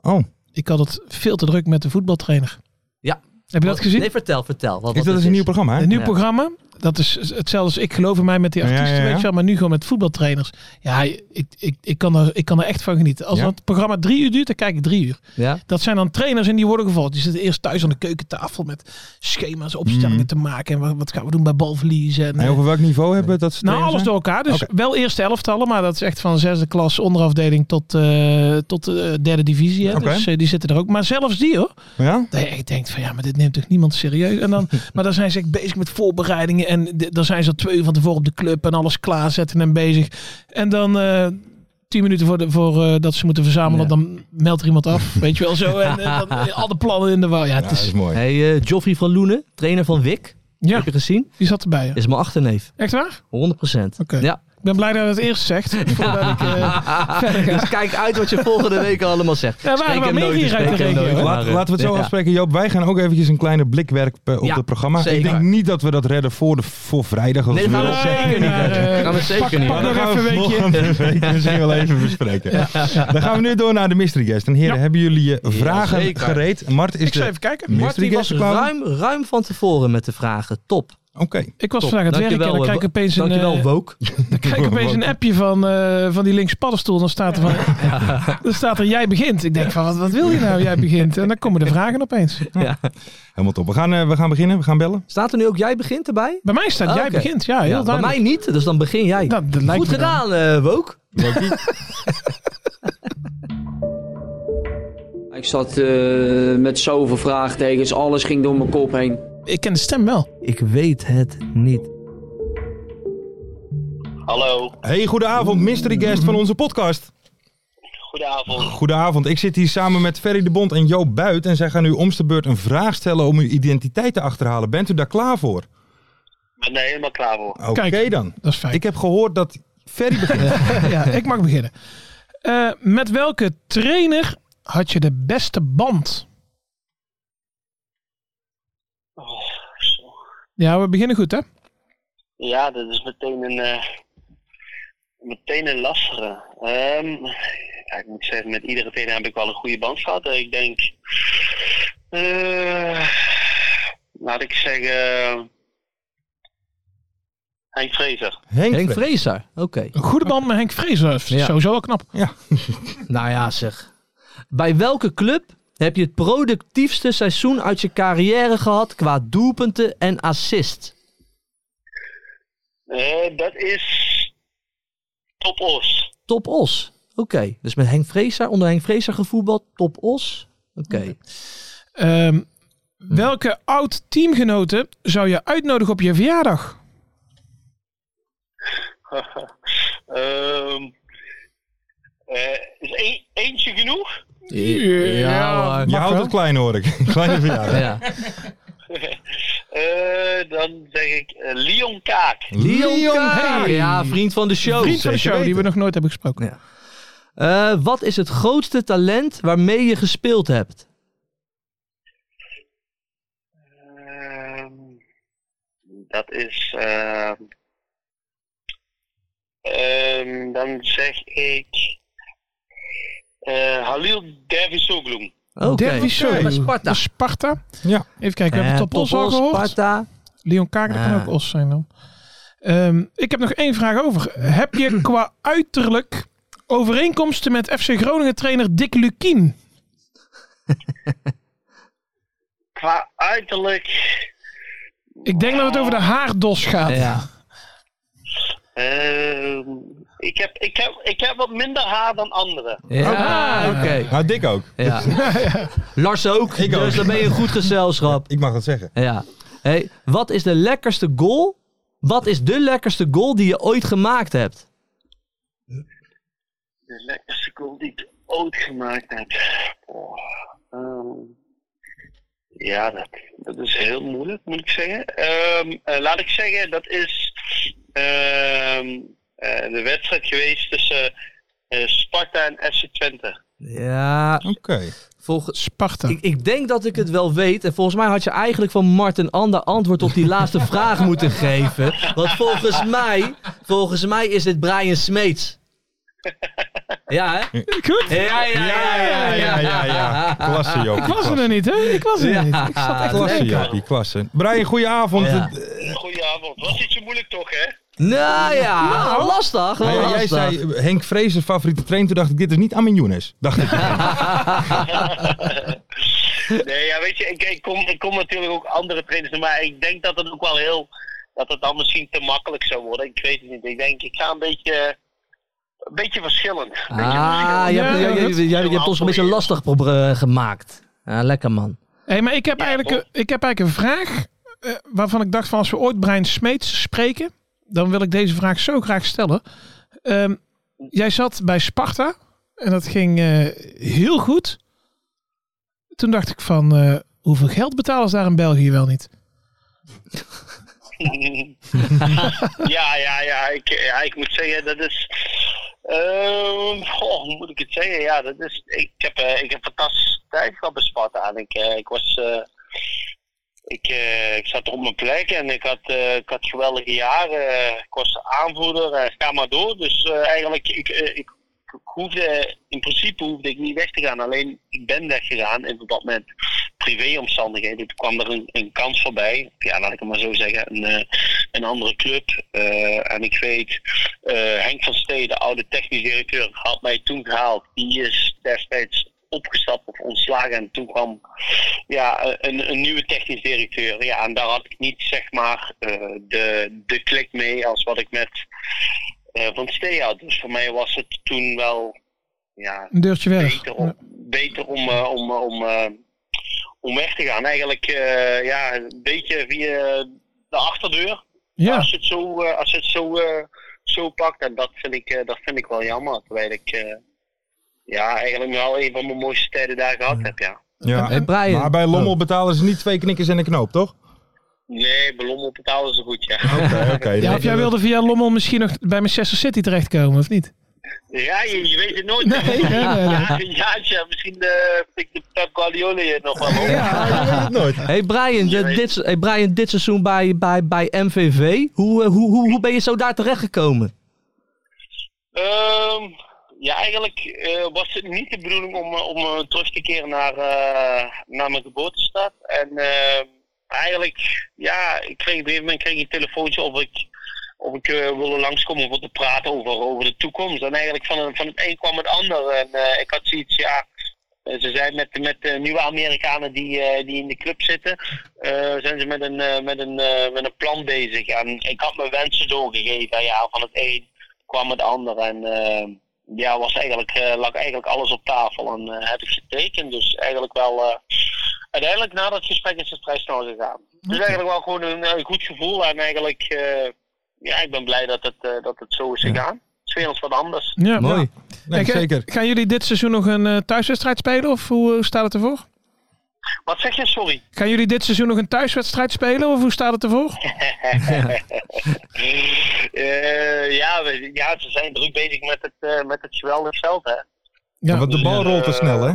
C: oh,
D: Ik had het veel te druk met de voetbaltrainer.
E: Ja. Oh,
D: Heb je dat gezien?
E: Nee, vertel, vertel. Wat,
C: is
E: wat
C: dat
E: het
C: eens een nieuw programma, hè?
D: Een nieuw
E: Ja.
D: programma. Dat is hetzelfde als ik geloof in mij met die
C: Ja, ja,
D: artiesten,
C: ja.
D: weet je wel, maar nu gewoon met voetbaltrainers. Ja, ik, ik, ik, kan, er, ik kan er echt van genieten. Als
C: Ja?
D: dat programma drie uur duurt, dan kijk ik drie uur.
E: Ja?
D: Dat zijn dan trainers en die worden gevolgd. Die zitten eerst thuis aan de keukentafel met schema's, opstellingen
C: Mm.
D: te maken. En wa- wat, gaan we doen bij balverliezen. En,
C: En over welk niveau hebben we dat ze
D: nou,
C: trainers
D: alles
C: zijn?
D: door elkaar. Dus wel eerste elftallen, maar dat is echt van zesde klas onderafdeling tot, eh, tot de derde divisie. Hè.
C: Oké.
D: Dus eh, die zitten er ook. Maar zelfs die hoor.
C: Ja?
D: Dat je echt denkt van ja, maar dit neemt toch niemand serieus. En dan, maar dan zijn ze echt bezig met voorbereidingen. En d- dan zijn ze al twee uur van tevoren op de club en alles klaarzetten en bezig. En dan eh, tien minuten voor, de, voor eh, dat ze moeten verzamelen,
E: Ja.
D: dan meldt er iemand af. Weet je wel zo. En, eh, dan, al de plannen in de war. Ja,
C: Ja,
D: het
C: dat
D: is,
C: is mooi.
E: Hey, eh, Joffrey van Loenen, trainer van Wik.
D: ja
E: Heb je gezien?
D: die zat erbij. ja.
E: Is mijn achterneef.
D: Echt waar?
E: 100%.
D: Oké.
E: Ja.
D: Ik ben blij dat je het eerst zegt. Voordat ik, eh,
E: dus kijk uit wat je volgende week allemaal zegt.
D: Ja, er waren
E: Spreek
D: wel
E: hem
D: meer
E: nooit,
D: hier
E: dus
D: uit de
E: spreek hem
D: regio,
E: nooit,
D: hè?
E: maar,
C: Laat-
E: eh,
C: laten we het zo
E: ja.
C: afspreken. Joop, wij gaan ook eventjes een kleine blik werpen op
E: Ja,
C: het programma. Ik
E: zeker.
C: denk niet dat we dat redden voor, de, voor vrijdag. want
E: Nee, dat
C: we
E: gaan we
C: willen-
E: zeker niet.
D: maar,
E: redden.
D: eh,
E: Dat gaan we zeker niet.
D: pak
C: Maar dan
D: nog
C: gaan
D: even
C: we
D: een weekje.
C: volgende week misschien wel even bespreken. Dan gaan we nu door naar de mystery guest. En heren, hebben jullie je vragen
E: zeker.
C: gereed? Mart is
D: ik zou
C: de...
D: even kijken.
C: Mystery
E: Martin was
C: guest klaar?
E: ruim, ruim van tevoren met de vragen. Top.
C: Oké.
D: Ik was
E: Top.
D: vandaag aan het werk en
E: Dankjewel,
D: dan krijg ik
E: eh,
D: opeens een,
E: Dankjewel,
D: eh,
E: Wook.
D: krijg ik opeens een appje van, eh, van die links paddenstoel. Dan staat er, van, dan staat er jij begint. Ik denk van wat, wat wil je nou jij begint? En dan komen de vragen opeens.
C: Helemaal top. We gaan, eh, we gaan beginnen. We gaan bellen.
E: Staat er nu ook jij begint erbij?
D: Bij mij staat
E: Ah,
D: jij
E: oké.
D: begint. Ja, heel
E: Ja, bij
D: duidelijk.
E: mij niet, dus dan begin jij.
D: Nou, dat lijkt
E: Goed
D: me dan.
E: gedaan, eh Wook.
F: Ik zat eh, met zoveel vraagtekens, alles ging door mijn kop heen.
D: Ik ken de stem wel.
E: Ik weet het niet.
G: Hallo,
C: Hey, goedenavond. Mystery guest van onze podcast.
G: goedenavond.
C: Goedenavond. Ik zit hier samen met Ferry de Bond en Joop Buit. En zij gaan u omste beurt een vraag stellen om uw identiteit te achterhalen. Bent u daar klaar voor?
G: Ik ben er helemaal klaar voor.
C: Oké
D: Kijk.
C: dan.
D: Dat is fijn.
C: Ik heb gehoord dat Ferry begint.
D: ja, ik mag beginnen. Eh, met welke trainer had je de beste band? Ja, we beginnen goed hè?
G: Oh, Ja, dat is meteen een, eh, meteen een lastige. Ehm, ja, ik moet zeggen, met iedere trainer heb ik wel een goede band gehad. Eh, Ik denk, eh, laat ik zeggen, Henk Vrezer.
C: Henk,
E: Henk
C: Freek.
E: Vrezer. Oké.
D: Een goede band met Henk Vrezer. Dat is
E: Ja.
D: Sowieso al knap.
E: Nou ja, zeg. Bij welke club heb je het productiefste seizoen uit je carrière gehad qua doelpunten en assist?
G: Eh, dat is Top Os.
E: Top Os. Oké. Dus met Henk Vrezer, onder Henk Vrezer gevoetbald, Top Os. Oké.
D: Ehm, welke oud teamgenoten zou je uitnodigen op je verjaardag?
G: Ehm, eh, is e- eentje genoeg?
E: Ja,
C: Je houdt het klein hoor ik. Kleine verjaardag.
E: Ja.
G: Eh, dan zeg ik eh, Leon Kaak.
E: Leon Kaak.
C: Kaak.
E: Ja, vriend van de show.
D: Vriend van de
C: zeker
D: show die we
C: weten.
D: nog nooit hebben gesproken.
E: Ja. Eh, wat is het grootste talent waarmee je gespeeld hebt?
G: Dat is. ehm, ehm, dan zeg ik. eh, Halil Dervisoglu.
E: Oké.
D: Derby
E: Bij Sparta.
D: Sparta. Sparta.
C: Ja.
D: Even kijken, we
E: Eh,
D: hebben het op Os al
E: Topos,
D: gehoord.
E: Sparta.
D: Leon Kaak, dat kan
E: Ja.
D: ook Os zijn dan. Ehm, ik heb nog één vraag over. Heb je qua uiterlijk overeenkomsten met FC Groningen trainer Dick Lukien?
G: Qua uiterlijk.
D: Ik denk dat het over de haardos gaat.
E: Ja.
G: ehm, ik, heb, ik, heb, ik heb wat minder haar dan anderen.
E: Ja, Ah, oké.
C: Nou, Dick ook.
E: Ja. Lars ook,
C: Ik
E: dus
C: ook.
E: dan ben je een goed gezelschap.
C: Ik mag dat zeggen.
E: Ja. Hey, wat is de lekkerste goal? Wat is de lekkerste goal die je ooit gemaakt hebt?
G: De lekkerste goal die ik ooit gemaakt heb. Oh, ehm, ja, dat, dat is heel moeilijk, moet ik zeggen. Ehm, eh, laat ik zeggen, dat is ehm, eh, de wedstrijd geweest tussen eh, Sparta en FC Twente.
E: Ja,
C: Oké.
E: volgens.
D: Sparta.
E: Ik, ik denk dat ik het wel weet. En volgens mij had je eigenlijk van Mart een ander antwoord op die laatste vraag moeten geven. Want volgens mij, volgens mij is dit Brian Smeets. Ja, hè?
D: Goed.
E: Ja, ja, ja, ja, ja,
C: ja, ja. Klasse, Joopie.
D: Ik was er nog niet, hè? Ik was er
E: Ja.
D: niet. Ik zat echt te
C: Klasse,
D: denken.
C: Joopie. Klasse. Brian, goeie avond.
E: Ja.
C: Eh,
G: Goedenavond. Was niet zo moeilijk toch, hè?
E: Nou ja, lastig. wel
C: nou ja,
E: lastig.
C: jij zei Henk Vrezen favoriete trainer. Toen dacht ik, dit is niet Amin Younes. Dacht ik.
G: Nee, ja, weet je, ik, ik, kom, ik kom natuurlijk ook andere trainers, maar ik denk dat het ook wel heel. dat het dan misschien te makkelijk zou worden. Ik weet het niet. Ik denk, ik ga een beetje. een beetje verschillend. Een beetje
E: Ah,
G: verschillend.
E: je hebt,
D: Ja,
E: je, je-
D: dat-
E: je- je hebt ons een beetje lastig pro- eh, gemaakt. Ja, lekker man.
D: Hé, maar ik heb,
G: Ja,
D: eigenlijk, een- ik heb eigenlijk een vraag eh, waarvan ik dacht van als we ooit Brian Smeets spreken, dan wil ik deze vraag zo graag stellen. Ehm, jij zat bij Sparta en dat ging eh, heel goed. Toen dacht ik van eh, hoeveel geld betalen ze daar in België wel niet?
G: ja, ja, ja ik, ja. ik moet zeggen, dat is. ehm, goh, hoe moet ik het zeggen? Ja, dat is. Ik heb, eh, ik heb fantastische tijd gehad bij Sparta. En ik, eh, ik was. eh, ik, eh, ik zat op mijn plek en ik had, eh, ik had geweldige jaren. Eh, ik was aanvoerder en ga maar door. Dus eh, eigenlijk, ik, eh, ik, ik hoefde, in principe hoefde ik niet weg te gaan. Alleen ik ben weggegaan in verband met privéomstandigheden. Toen kwam er een, een kans voorbij. Ja, laat ik het maar zo zeggen. Een, eh, een andere club. Eh, en ik weet, eh, Henk van Steden, oude technisch directeur, had mij toen gehaald. Die is destijds opgestapt of ontslagen. En toen kwam ja, eh, een, een nieuwe technisch directeur. Ja, en daar had ik niet zeg maar eh, de, de klik mee als wat ik met eh, Van Steen had. Dus voor mij was het toen wel ja,
D: Een deurtje weg.
G: beter om, beter om, eh, om, eh, om, eh, om weg te gaan. Eigenlijk eh, ja, een beetje via de achterdeur.
D: Ja,
G: Als je het zo, eh, als je het zo, eh, zo pakt. En dat vind ik, eh, dat vind ik wel jammer. Terwijl ik eh, ja, eigenlijk wel een van mijn mooiste tijden daar gehad heb. Ja.
C: Ja.
E: Hey, Brian. Oh.
C: Maar bij Lommel betalen ze niet twee knikkers en een knoop, toch?
G: Nee, bij Lommel betalen ze goed, ja.
C: Oké.
D: ja of jij wilde via Lommel misschien nog bij Manchester City terechtkomen, of niet?
G: Ja, je, je weet het nooit.
D: Nee, nee, nee, nee.
G: Ja, ja, tja, misschien eh pikt de Pep Guardiola je nog wel op.
C: nooit.
E: Hey Brian,
G: Je
E: de-
G: weet-
E: dit, hey Brian, dit seizoen bij, bij, bij MVV, hoe, eh, hoe, hoe, hoe ben je zo daar terechtgekomen?
G: Ehm, ja, eigenlijk eh, was het niet de bedoeling om, eh, om eh, terug te keren naar, eh, naar mijn geboortestad. En ehm, eigenlijk, ja, ik kreeg op een gegeven moment kreeg ik een telefoontje of ik, of ik eh, wilde langskomen om wat te praten over, over de toekomst. En eigenlijk van, van het een kwam het ander. En eh, ik had zoiets, ja. eh, Ze zijn met, met de nieuwe Amerikanen die, eh, die in de club zitten, eh, zijn ze met een, eh, met, een, eh, met een plan bezig. En ik had mijn wensen doorgegeven, ja, van het een kwam het ander en eh, ja, was eigenlijk, eh, lag eigenlijk alles op tafel en eh, heb ik getekend. Dus eigenlijk wel, eh, uiteindelijk na dat gesprek is het vrij snel gegaan. Dus eigenlijk wel gewoon een, eh, goed gevoel en eigenlijk, eh, ja, ik ben blij dat het, eh, dat het zo is gegaan. Het is weer eens wat anders.
D: Ja,
C: Mooi. Nee,
D: Ja. Hey,
C: zeker.
D: Gaan jullie dit seizoen nog een eh, thuiswedstrijd spelen, of hoe hoe staat het ervoor?
G: Wat zeg je, sorry?
D: Gaan jullie dit seizoen nog een thuiswedstrijd spelen, of hoe staat het ervoor?
G: Eh, ja, we- ja, ze zijn druk bezig met het, eh, met het geweldige veld, hè.
D: Ja.
C: Want de bal rolt te snel, hè?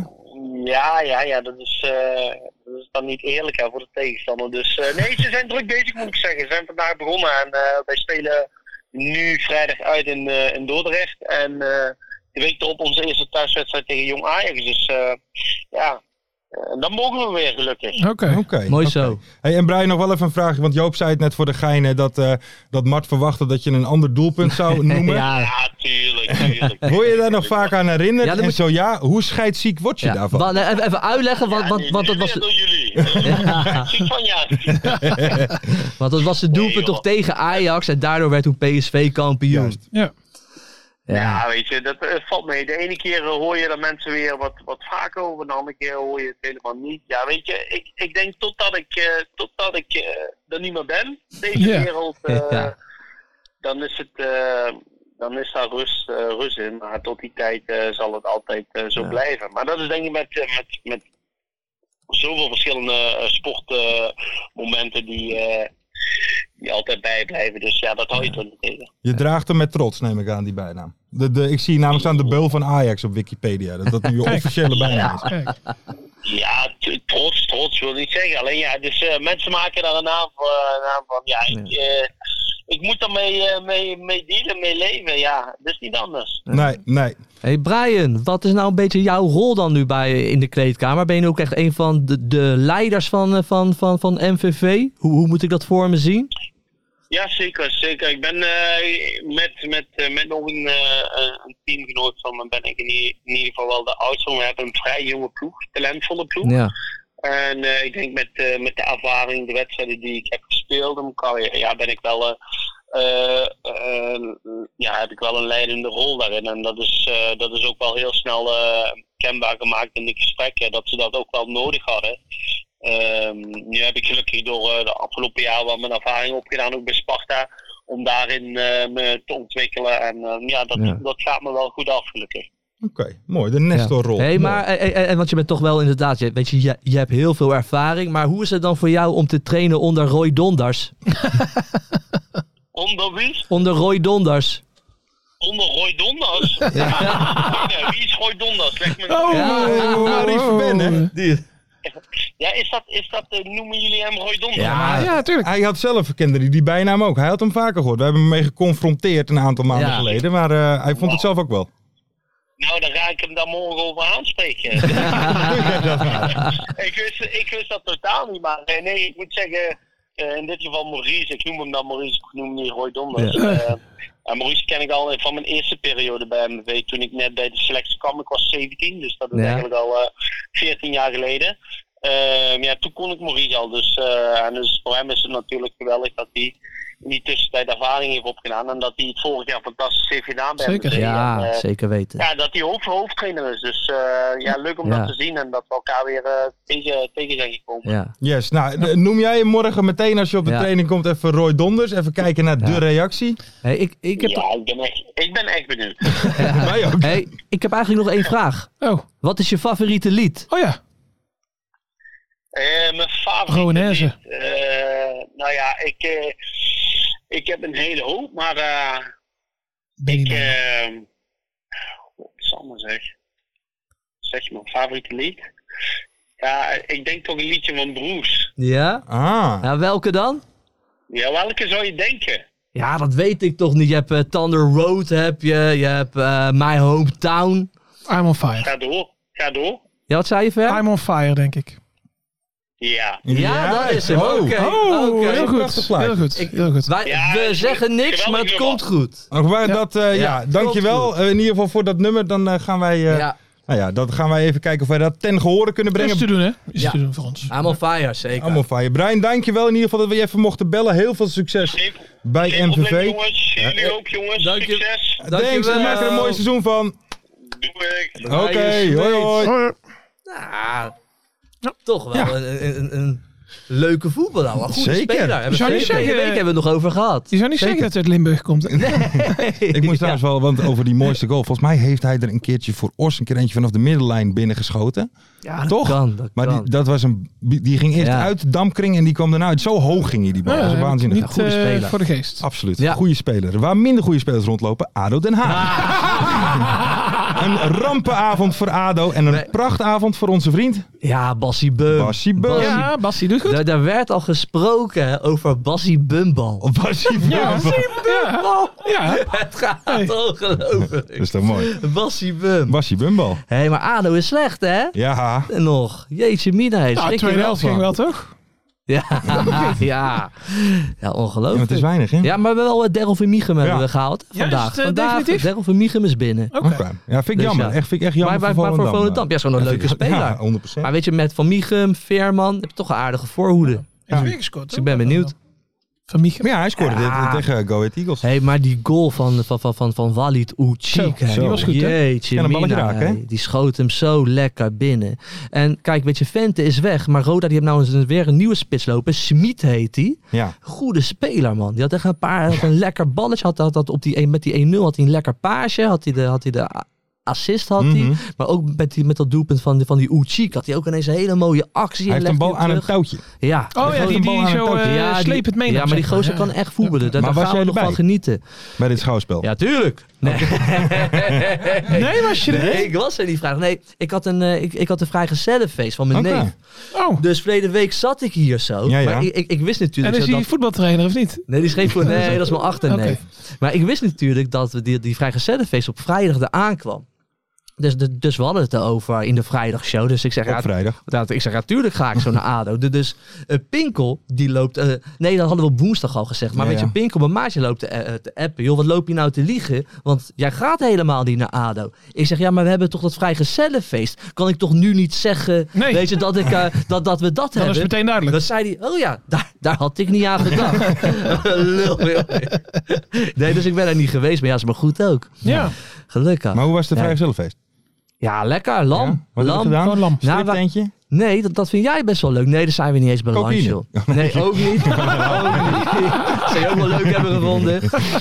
G: Ja, ja, ja, dat is, eh, Dat is dan niet eerlijk hè, voor de tegenstander. Dus eh, nee, ze zijn druk bezig moet ik zeggen. Ze zijn vandaag begonnen en eh, wij spelen nu vrijdag uit in, eh, in Dordrecht. En eh, de week erop onze eerste thuiswedstrijd tegen Jong Ajax. Dus eh, ja, eh, dan mogen we weer gelukkig.
D: Oké.
C: Oké.
E: Mooi
C: oké.
E: zo.
C: Hey, en Brian, nog wel even een vraagje. Want Joop zei het net voor de gein hè, dat, eh, dat Mart verwachtte dat je een ander doelpunt zou noemen.
E: Ja,
G: Ja, tuurlijk, tuurlijk.
C: Word je daar nog vaak aan herinnerd?
E: Ja, dan
C: en
E: moet-
C: zo ja, hoe scheidsziek word je
E: ja.
C: daarvan?
E: Wa- nee, Even, even uitleggen, want,
G: Ja,
E: want,
G: nee,
E: want, dat
G: dit
E: was,
G: is weer door jullie.
E: Ja.
G: Ziek van ja.
E: want dat was de
G: Nee,
E: doelpunt
G: joh.
E: toch tegen Ajax. En daardoor werd toen PSV kampioen.
C: Juist.
D: Ja.
E: Ja.
G: Ja, weet je, dat eh, valt mee. De ene keer eh, hoor je er mensen weer wat, wat vaker over, de andere keer hoor je het helemaal niet. Ja, weet je, ik, ik denk totdat ik, eh, totdat ik eh, er niet meer ben, deze
D: Ja.
G: wereld, eh,
E: Ja.
G: dan is het, eh, dan is daar rust, eh, rust in. Maar tot die tijd eh, zal het altijd eh, zo
E: Ja.
G: blijven. Maar dat is denk ik met, eh, met, met zoveel verschillende eh, sportmomenten die, eh, die altijd bijblijven. Dus ja, dat hou je toch niet tegen.
C: Je draagt hem met trots, neem ik aan, die bijnaam. De, de, ik zie namelijk staan de beul van Ajax op Wikipedia. Dat dat nu je officiële bijnaam is.
D: Kijk.
G: Ja, t- trots, trots wil ik niet zeggen. Alleen ja, dus eh, mensen maken daar een naam, voor- een naam van. Ja, ik, eh, ik moet daarmee eh, mee, mee dealen, mee leven. Ja, dat is niet anders.
C: Nee, nee.
E: Hey Brian, wat is nou een beetje jouw rol dan nu bij, in de kleedkamer? Ben je nu ook echt een van de, de leiders van, eh, van, van, van MVV? Hoe, hoe moet ik dat voor me zien?
G: Ja, zeker, zeker. Ik ben eh, met, met, eh, met nog een, eh, eh, een teamgenoot van me ben ik in, i- in ieder geval wel de oudste. We hebben een vrij jonge ploeg, talentvolle ploeg.
E: Ja,
G: En eh, ik denk met, eh, met de ervaring, de wedstrijden die ik heb gespeeld, in mijn carrière, ja, ben ik wel, eh, eh, eh, ja, heb ik wel een leidende rol daarin. En dat is, eh, dat is ook wel heel snel eh, kenbaar gemaakt in de gesprekken, dat ze dat ook wel nodig hadden. Ehm, nu heb ik gelukkig door eh, de afgelopen jaar wel mijn ervaring opgedaan, ook bij Sparta, om daarin eh, me te ontwikkelen. En eh, ja, dat,
E: Ja.
G: dat gaat me wel goed af, gelukkig.
C: Oké, mooi. De Nestor-rol.
E: Ja. Hey,
C: Mooi.
E: maar, eh, eh, eh, want je bent toch wel inderdaad, je, weet je, je, je hebt heel veel ervaring. Maar hoe is het dan voor jou om te trainen onder Roy Donders?
G: Onder wie?
E: Onder Roy Donders.
G: Onder Roy Donders? Ja, wie is Roy Donders? Leg me
D: Oh,
E: Ja,
C: Marie Verben, hè? Die-
G: Ja, is dat, is dat eh, noemen jullie hem Roy Donders?
D: Ah, ja, tuurlijk.
C: Hij had zelf, kende die, die bijnaam ook. Hij had hem vaker gehoord. We hebben hem mee geconfronteerd een aantal maanden
E: Ja.
C: geleden. Maar eh, hij vond het zelf ook wel.
G: Nou, dan ga ik hem daar morgen over aanspreken. ik, wist, ik wist dat totaal niet, maar eh, nee, ik moet zeggen, eh, in dit geval Maurice, ik noem hem dan Maurice, ik noem hem niet Roy Donders. Eh, en Maurice ken ik al van mijn eerste periode bij MV, toen ik net bij de selectie kwam, ik was 17, dus dat is
E: Ja.
G: eigenlijk al eh, 14 jaar geleden. Ehm, ja, toen kon ik Maurice al, dus, eh, en dus voor hem is het natuurlijk geweldig dat hij in die tussentijd ervaring heeft opgedaan en dat hij het vorig jaar fantastisch heeft gedaan bij
D: Zeker.
G: MVV. En,
E: Ja,
G: eh,
E: zeker weten.
G: ja, dat hij hoofd, hoofdtrainer is. Dus eh, ja, leuk om
E: Ja.
G: dat te zien en dat we elkaar weer eh, tegen, tegen zijn gekomen.
E: Ja.
C: Yes, nou, de- noem jij hem morgen meteen als je op de
E: Ja.
C: training komt even Roy Donders. Even kijken naar de
E: Ja.
C: reactie.
E: Hey, ik, ik,
G: Ja,
E: heb,
G: ik, ben echt, ik ben echt benieuwd.
C: Wij ook.
E: hey, ik heb eigenlijk nog één vraag.
D: Oh,
E: Wat is je favoriete lied?
D: oh ja.
G: Eh, mijn favoriete
D: Rowanese.
G: lied, eh, nou ja, ik, eh, ik heb een hele hoop, maar eh,
D: Ben
G: ik...
D: je nou?
G: eh, wat is allemaal zeg? Zeg je mijn favoriete lied? Ja, ik denk toch een liedje van Bruce.
E: Ja?
C: Ah,
E: Ja, welke dan?
G: Ja, welke zou je denken?
E: Ja, dat weet ik toch niet. Je hebt eh, Thunder Road, heb je. Je hebt eh, My Hometown.
D: I'm on fire.
G: Ga door, ga door.
E: Ja, wat zei je ver?
D: I'm on fire, denk ik.
G: Ja.
E: Ja, dat is hem. Oké.
D: Oh,
E: oké.
D: heel
C: Prachtig
D: goed.
C: plaatje.
D: Heel goed. Heel goed.
E: Wij,
G: Ja,
E: we
G: ik-
E: zeggen niks,
G: geweldig
E: maar het
G: nummer.
E: komt goed.
C: Maar waar dat, eh, ja,
E: Ja,
C: dankjewel.
E: klopt.
C: Eh, in ieder geval voor dat nummer. Dan eh, gaan wij, eh,
E: Ja,
C: nou ja, dat gaan wij even kijken of wij dat ten gehore kunnen
D: Is te
C: brengen.
D: doen, hè? Is
E: Ja.
D: te doen voor ons.
E: I'm on fire, zeker.
C: Allemaal van je. Brian, dankjewel in ieder geval dat we je even mochten bellen. Heel veel succes
G: Geen-
C: bij
G: geen probleem,
C: MVV.
G: jongens. Jullie ook, jongens.
E: dank je.
G: Succes.
C: Thanks, we maken er een mooi seizoen van.
G: Doei.
C: Oké,
D: Oh,
C: hoi hoi.
E: Ah, toch wel een, een, een leuke voetballer. Een goede
C: Zeker.
E: speler. Hebben
D: Zou
E: we
D: je
E: twee-
D: zeggen-
E: twee weken hebben we het nog over gehad.
D: Je zou niet zeggen dat het uit Limburg komt.
C: Ik moest trouwens wel, want over die mooiste goal. Volgens mij heeft hij er een keertje voor Os een keer eentje vanaf de middenlijn binnengeschoten.
E: Ja, dat
C: Toch?
E: kan, dat
C: Maar
E: kan.
C: die, dat was een, die ging eerst
E: Ja.
C: uit de dampkring en die kwam daarna uit. Zo hoog ging hij die bal.
D: Ja,
C: dat is waanzinnig.
D: Niet
E: goede
D: eh,
E: speler.
D: voor de geest.
C: Absoluut.
E: Ja.
C: Goede speler. Waar minder goede spelers rondlopen, ADO Den Haag. een rampenavond voor ADO en een
E: Ah. Nee.
C: prachtavond voor onze vriend
E: Ja, Bassie Bum.
C: Bassie Bum.
D: Ja, Bas, die doet goed.
E: Daar, daar werd al gesproken over Bassie Bumbal.
C: Bassie Bum.
D: Ja, ja, ja. Nou,
E: Het gaat
D: Hey.
E: ongelooflijk.
C: Dat is toch mooi.
E: Bassie Bum.
C: Bassie Bumbal.
E: Hé, hey, maar ADO is slecht, hè?
C: Ja.
E: Nog. Jeetje mina, hij
D: Nou,
E: schrik je
D: tweede helft
E: van.
D: ging wel, toch?
E: Ja, ja. Ja,
C: Ja,
E: ongelooflijk.
C: het is weinig, hè?
E: Ja, maar we hebben wel eh, Daryl van Michum hebben
C: Ja. Oh,
E: we gehaald
D: Ja, is
E: vandaag.
D: het, eh,
E: vandaag
D: definitief?
E: Daryl van Michum is binnen.
D: Oké.
C: Oké. Ja, vind ik
E: Dus
C: jammer.
E: ja.
C: Echt, vind ik echt jammer
E: Maar- maar-
C: voor
E: maar voor
C: Volendam. eh.
E: Volendam, ja, is gewoon een
C: Ja,
E: leuke
C: vind ik-
E: speler.
C: Ja, 100%.
E: Maar weet je, met Van Michum, Veerman, heb je toch een aardige voorhoede.
D: Heeft weer gescoord.
E: Dus ik ben benieuwd.
D: Van Michel.
C: Maar ja, hij scoorde
E: Ja.
C: dit- eh, tegen Go Ahead Eagles.
E: Hé, hey, maar die goal van, van, van, van, van Walid
D: Zo,
E: Uchik.
D: die was goed, hè?
E: Jeetje,
C: Kan een balletje
E: mina,
C: raken, hè?
E: hé. Die schoot hem zo lekker binnen. En kijk, weet je, Vente is weg. Maar Roda die heeft nou eens weer een nieuwe spits lopen. Smit heet die.
C: Ja.
E: Goede speler, man. Die had echt een paar... Had een lekker balletje. Had, had, had op die, een- met die 1-0 had hij een lekker paasje. Had hij de... Had hij de a- Assist had hij,
C: Mhm.
E: maar ook met, die, met dat doelpunt van, die- van die Uchik had hij ook ineens een hele mooie actie.
C: Hij heeft
E: en
C: een
E: legde hem
C: bal aan een
E: terug.
C: touwtje.
E: Ja,
D: Oh
C: Hij
D: ja,
C: heeft
D: die,
C: een bal
D: die
C: aan
D: zo
C: het
D: eh,
E: ja, die-
D: slepend mee.
E: Ja, maar die gozer kan echt voetballen. Daar,
C: Maar
E: daar
C: was
E: gaan we
C: jij
E: nog van
C: erbij?
E: genieten.
C: Bij dit schouwspel.
E: Ja, tuurlijk. Nee.
D: Nee, was je er
E: Nee,
D: niet?
E: ik was er niet vraag. Nee, ik had een, eh, ik, ik had een vrijgezellenfeest van mijn
C: Oké.
E: neef.
D: Oh,
E: Dus verleden week zat ik hier zo.
C: Ja, ja.
E: Maar ik, ik, ik wist
D: en
E: natuurlijk
D: is
E: zo
D: hij
E: dat...
D: voetbaltrainer of niet?
E: Nee, die schreef voor... Nee, dat is mijn achterneef. Maar ik wist natuurlijk dat we die, die vrijgezellenfeest op vrijdag eraan kwam. Dus, de- dus we hadden het erover in de vrijdagshow. Dus ik zeg, ja,
C: Op vrijdag.
E: dat, ik zeg, natuurlijk ga ik zo naar ADO. De- Dus eh, Pinkel, die loopt... eh, nee, dat hadden we op woensdag al gezegd. Maar
C: Ja,
E: weet
C: ja.
E: je, Pinkel, mijn maatje loopt te, eh, te appen. Joh, wat loop je nou te liegen? Want jij gaat helemaal niet naar ADO. Ik zeg, ja, maar we hebben toch dat vrijgezellenfeest. Kan ik toch nu niet zeggen,
D: Nee.
E: weet je, dat, ik, eh, dat, dat we dat
D: Dan is
E: hebben?
D: het meteen duidelijk.
E: Dan zei hij, oh ja, daar, daar had ik niet aan gedacht. Lul, joh. nee, dus ik ben er niet geweest. Maar ja, is maar goed ook.
D: Ja,
E: Gelukkig.
C: Maar hoe was de
E: Ja.
C: vrijgezellenfeest?
E: Ja, lekker.
C: Ja?
E: Lam.
C: Wat heb je
E: lam.
C: gedaan?
D: gewoon lam.
E: Nou, wa-
C: Striptentje?
E: Nee, dat, dat vind jij best wel leuk. Nee, daar zijn we niet eens bij lunch,
C: Cocaïne.
E: joh. Nee, ook niet. ook niet. Zou je ook wel leuk hebben gevonden.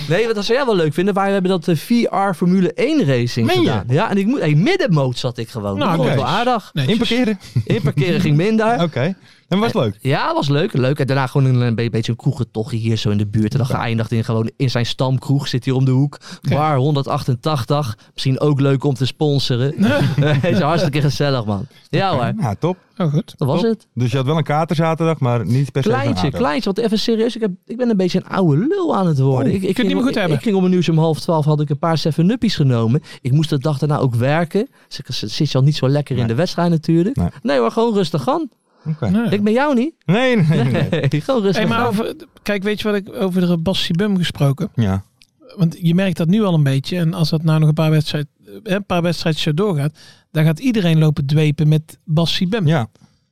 E: Nee, wat dat zou jij wel leuk vinden. Wij hebben dat eh, VR Formule 1 racing
C: Meen je?
E: gedaan. Ja, en ik moet... Hey, middenmoot zat ik gewoon.
D: Nou,
E: dat was
C: oké. Nou.
E: wel aardig.
D: Nee.
C: Inparkeren?
E: Inparkeren ging minder.
C: Oké. En was het leuk?
E: Ja, was leuk. leuk. En daarna gewoon een, een be- beetje een kroegentochtje hier zo in de buurt. En dan geëindigd in gewoon in zijn stamkroeg. Zit hier om de hoek. Bar 188. Misschien ook leuk om te sponsoren. Het is hartstikke gezellig, man. Ja hoor,
C: Ja, top.
D: oh goed.
E: dat was
C: Top.
E: het.
C: Dus je had wel een kater zaterdag, maar niet per se van
E: Kleintje,
C: ADO.
E: kleintje. Want even serieus, ik, heb, ik ben een beetje een oude lul aan het worden.
D: Oh,
E: ik, ik,
D: kun je het
E: ging,
D: niet meer goed
E: ik,
D: hebben?
E: ik ging om een uurtje om half twaalf, had ik een paar 7-uppies genomen. Ik moest de dag daarna ook werken. Dus ik z- zit je al niet zo lekker in
C: Nee.
E: de wedstrijd natuurlijk.
C: Nee.
E: Nee, maar gewoon rustig aan.
C: Oké.
D: Nee.
E: Ik ben jou niet.
C: Nee, nee, nee.
E: Nee, gewoon rustig
D: Hey, maar
E: aan.
D: over, kijk, weet je wat ik over de Bassi Bum gesproken?
C: Ja.
D: Want je merkt dat nu al een beetje. En als dat nou nog een paar, wedstrijd, eh, een paar wedstrijdjes zo doorgaat, dan gaat iedereen lopen dwepen met Bassi Bum.
C: ja.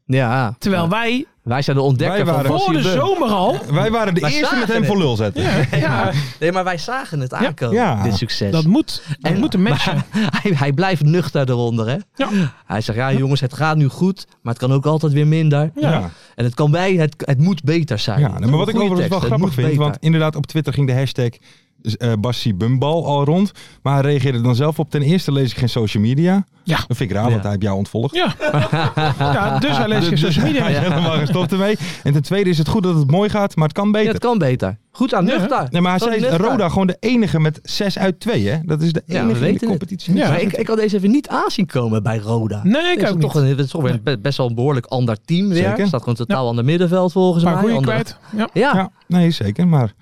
E: Ja,
D: Terwijl wij
E: wij zijn de ontdekker
C: Wij
E: van
C: waren-
D: voor
C: Bassi
D: de
C: Bum.
D: zomer al.
C: Wij waren de
E: Wij
C: eerste met
E: zagen
C: hem
E: het.
C: voor lul zetten.
D: Ja,
E: Nee, maar wij zagen het aankomen,
C: Ja.
E: dit succes.
D: dat moet. Dat
E: En-
D: moet een match zijn.
E: Hij, hij blijft nuchter eronder, hè?
D: Ja.
E: Hij zegt, ja jongens, het gaat nu goed, maar het kan ook altijd weer minder.
C: Ja. Ja.
E: En het kan bij, het, het moet beter zijn.
C: Ja, maar wat ik
E: Goeie
C: overigens wel
E: tekst, het
C: grappig
E: moet
C: vind,
E: beter.
C: want inderdaad op Twitter ging de hashtag eh Bassie Bumbal al rond. Maar hij reageerde dan zelf op, ten eerste lees ik geen social media.
D: Ja.
C: Dat vind ik raar, want
E: Ja.
C: hij heeft jou ontvolgd.
D: Ja. ja, dus hij leest geen
C: Dus- dus
D: social media.
C: hij is helemaal gestopt ermee. En ten tweede is het goed dat het mooi gaat, maar het kan
E: Ja,
C: beter.
E: het kan beter. Goed aan
D: Ja.
E: nuchter.
C: Nee, maar hij
E: Kan
C: zei
E: nuchter.
C: Roda gewoon de enige met 6 uit 2, hè? Dat is de
E: Ja, we
C: enige in de
E: weten het.
C: competitie.
D: Ja.
E: Maar ik, ik had deze even niet aanzien komen bij Roda.
D: Nee, ik
E: Het is
D: ook
E: toch
D: niet.
E: een- het is toch weer een be- best wel een behoorlijk ander team weer.
C: Zeker.
E: staat gewoon totaal ander middenveld volgens
D: Een paar
E: mij.
D: goeie
E: Andere-
D: kwijt. Ja.
E: Ja.
C: Ja, nee, zeker. Maar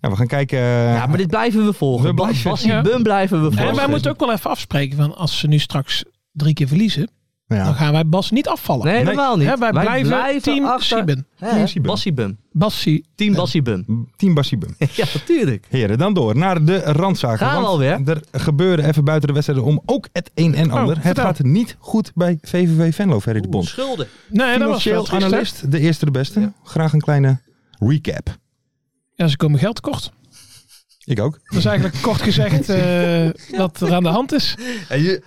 C: ja, we gaan kijken. eh,
E: Ja, maar dit blijven we volgen.
C: We blijven-
E: Bas- Bassie
D: Ja.
E: Bum blijven we volgen.
D: En wij moeten ook wel even afspreken van als ze nu straks drie keer verliezen,
C: ja.
D: dan gaan wij Bas niet afvallen.
E: Nee, helemaal niet.
D: Hè, wij, blijven, team
E: achter-
D: Sieben.
E: Hè,
C: Team Sieben.
E: Bassie Bum.
D: Bassi.
E: Team Bassie Bum.
C: Team Basibum.
E: Ja, natuurlijk.
C: Heren, dan door naar de randzaken.
E: Gaan we
C: want
E: alweer? Oh,
C: Er gebeurde even buiten de wedstrijden om ook het een en ander. het
D: vertel.
C: gaat niet goed bij VVV Venlo, Ferry de Bond.
E: Schulden.
D: Nee, dat was
C: Financieel
D: wel triest, hè?
C: analist, de eerste de beste. Graag een kleine recap.
D: Ja, ze komen geld tekort.
C: Ik ook.
D: Dat is eigenlijk kort gezegd eh wat er aan de hand is.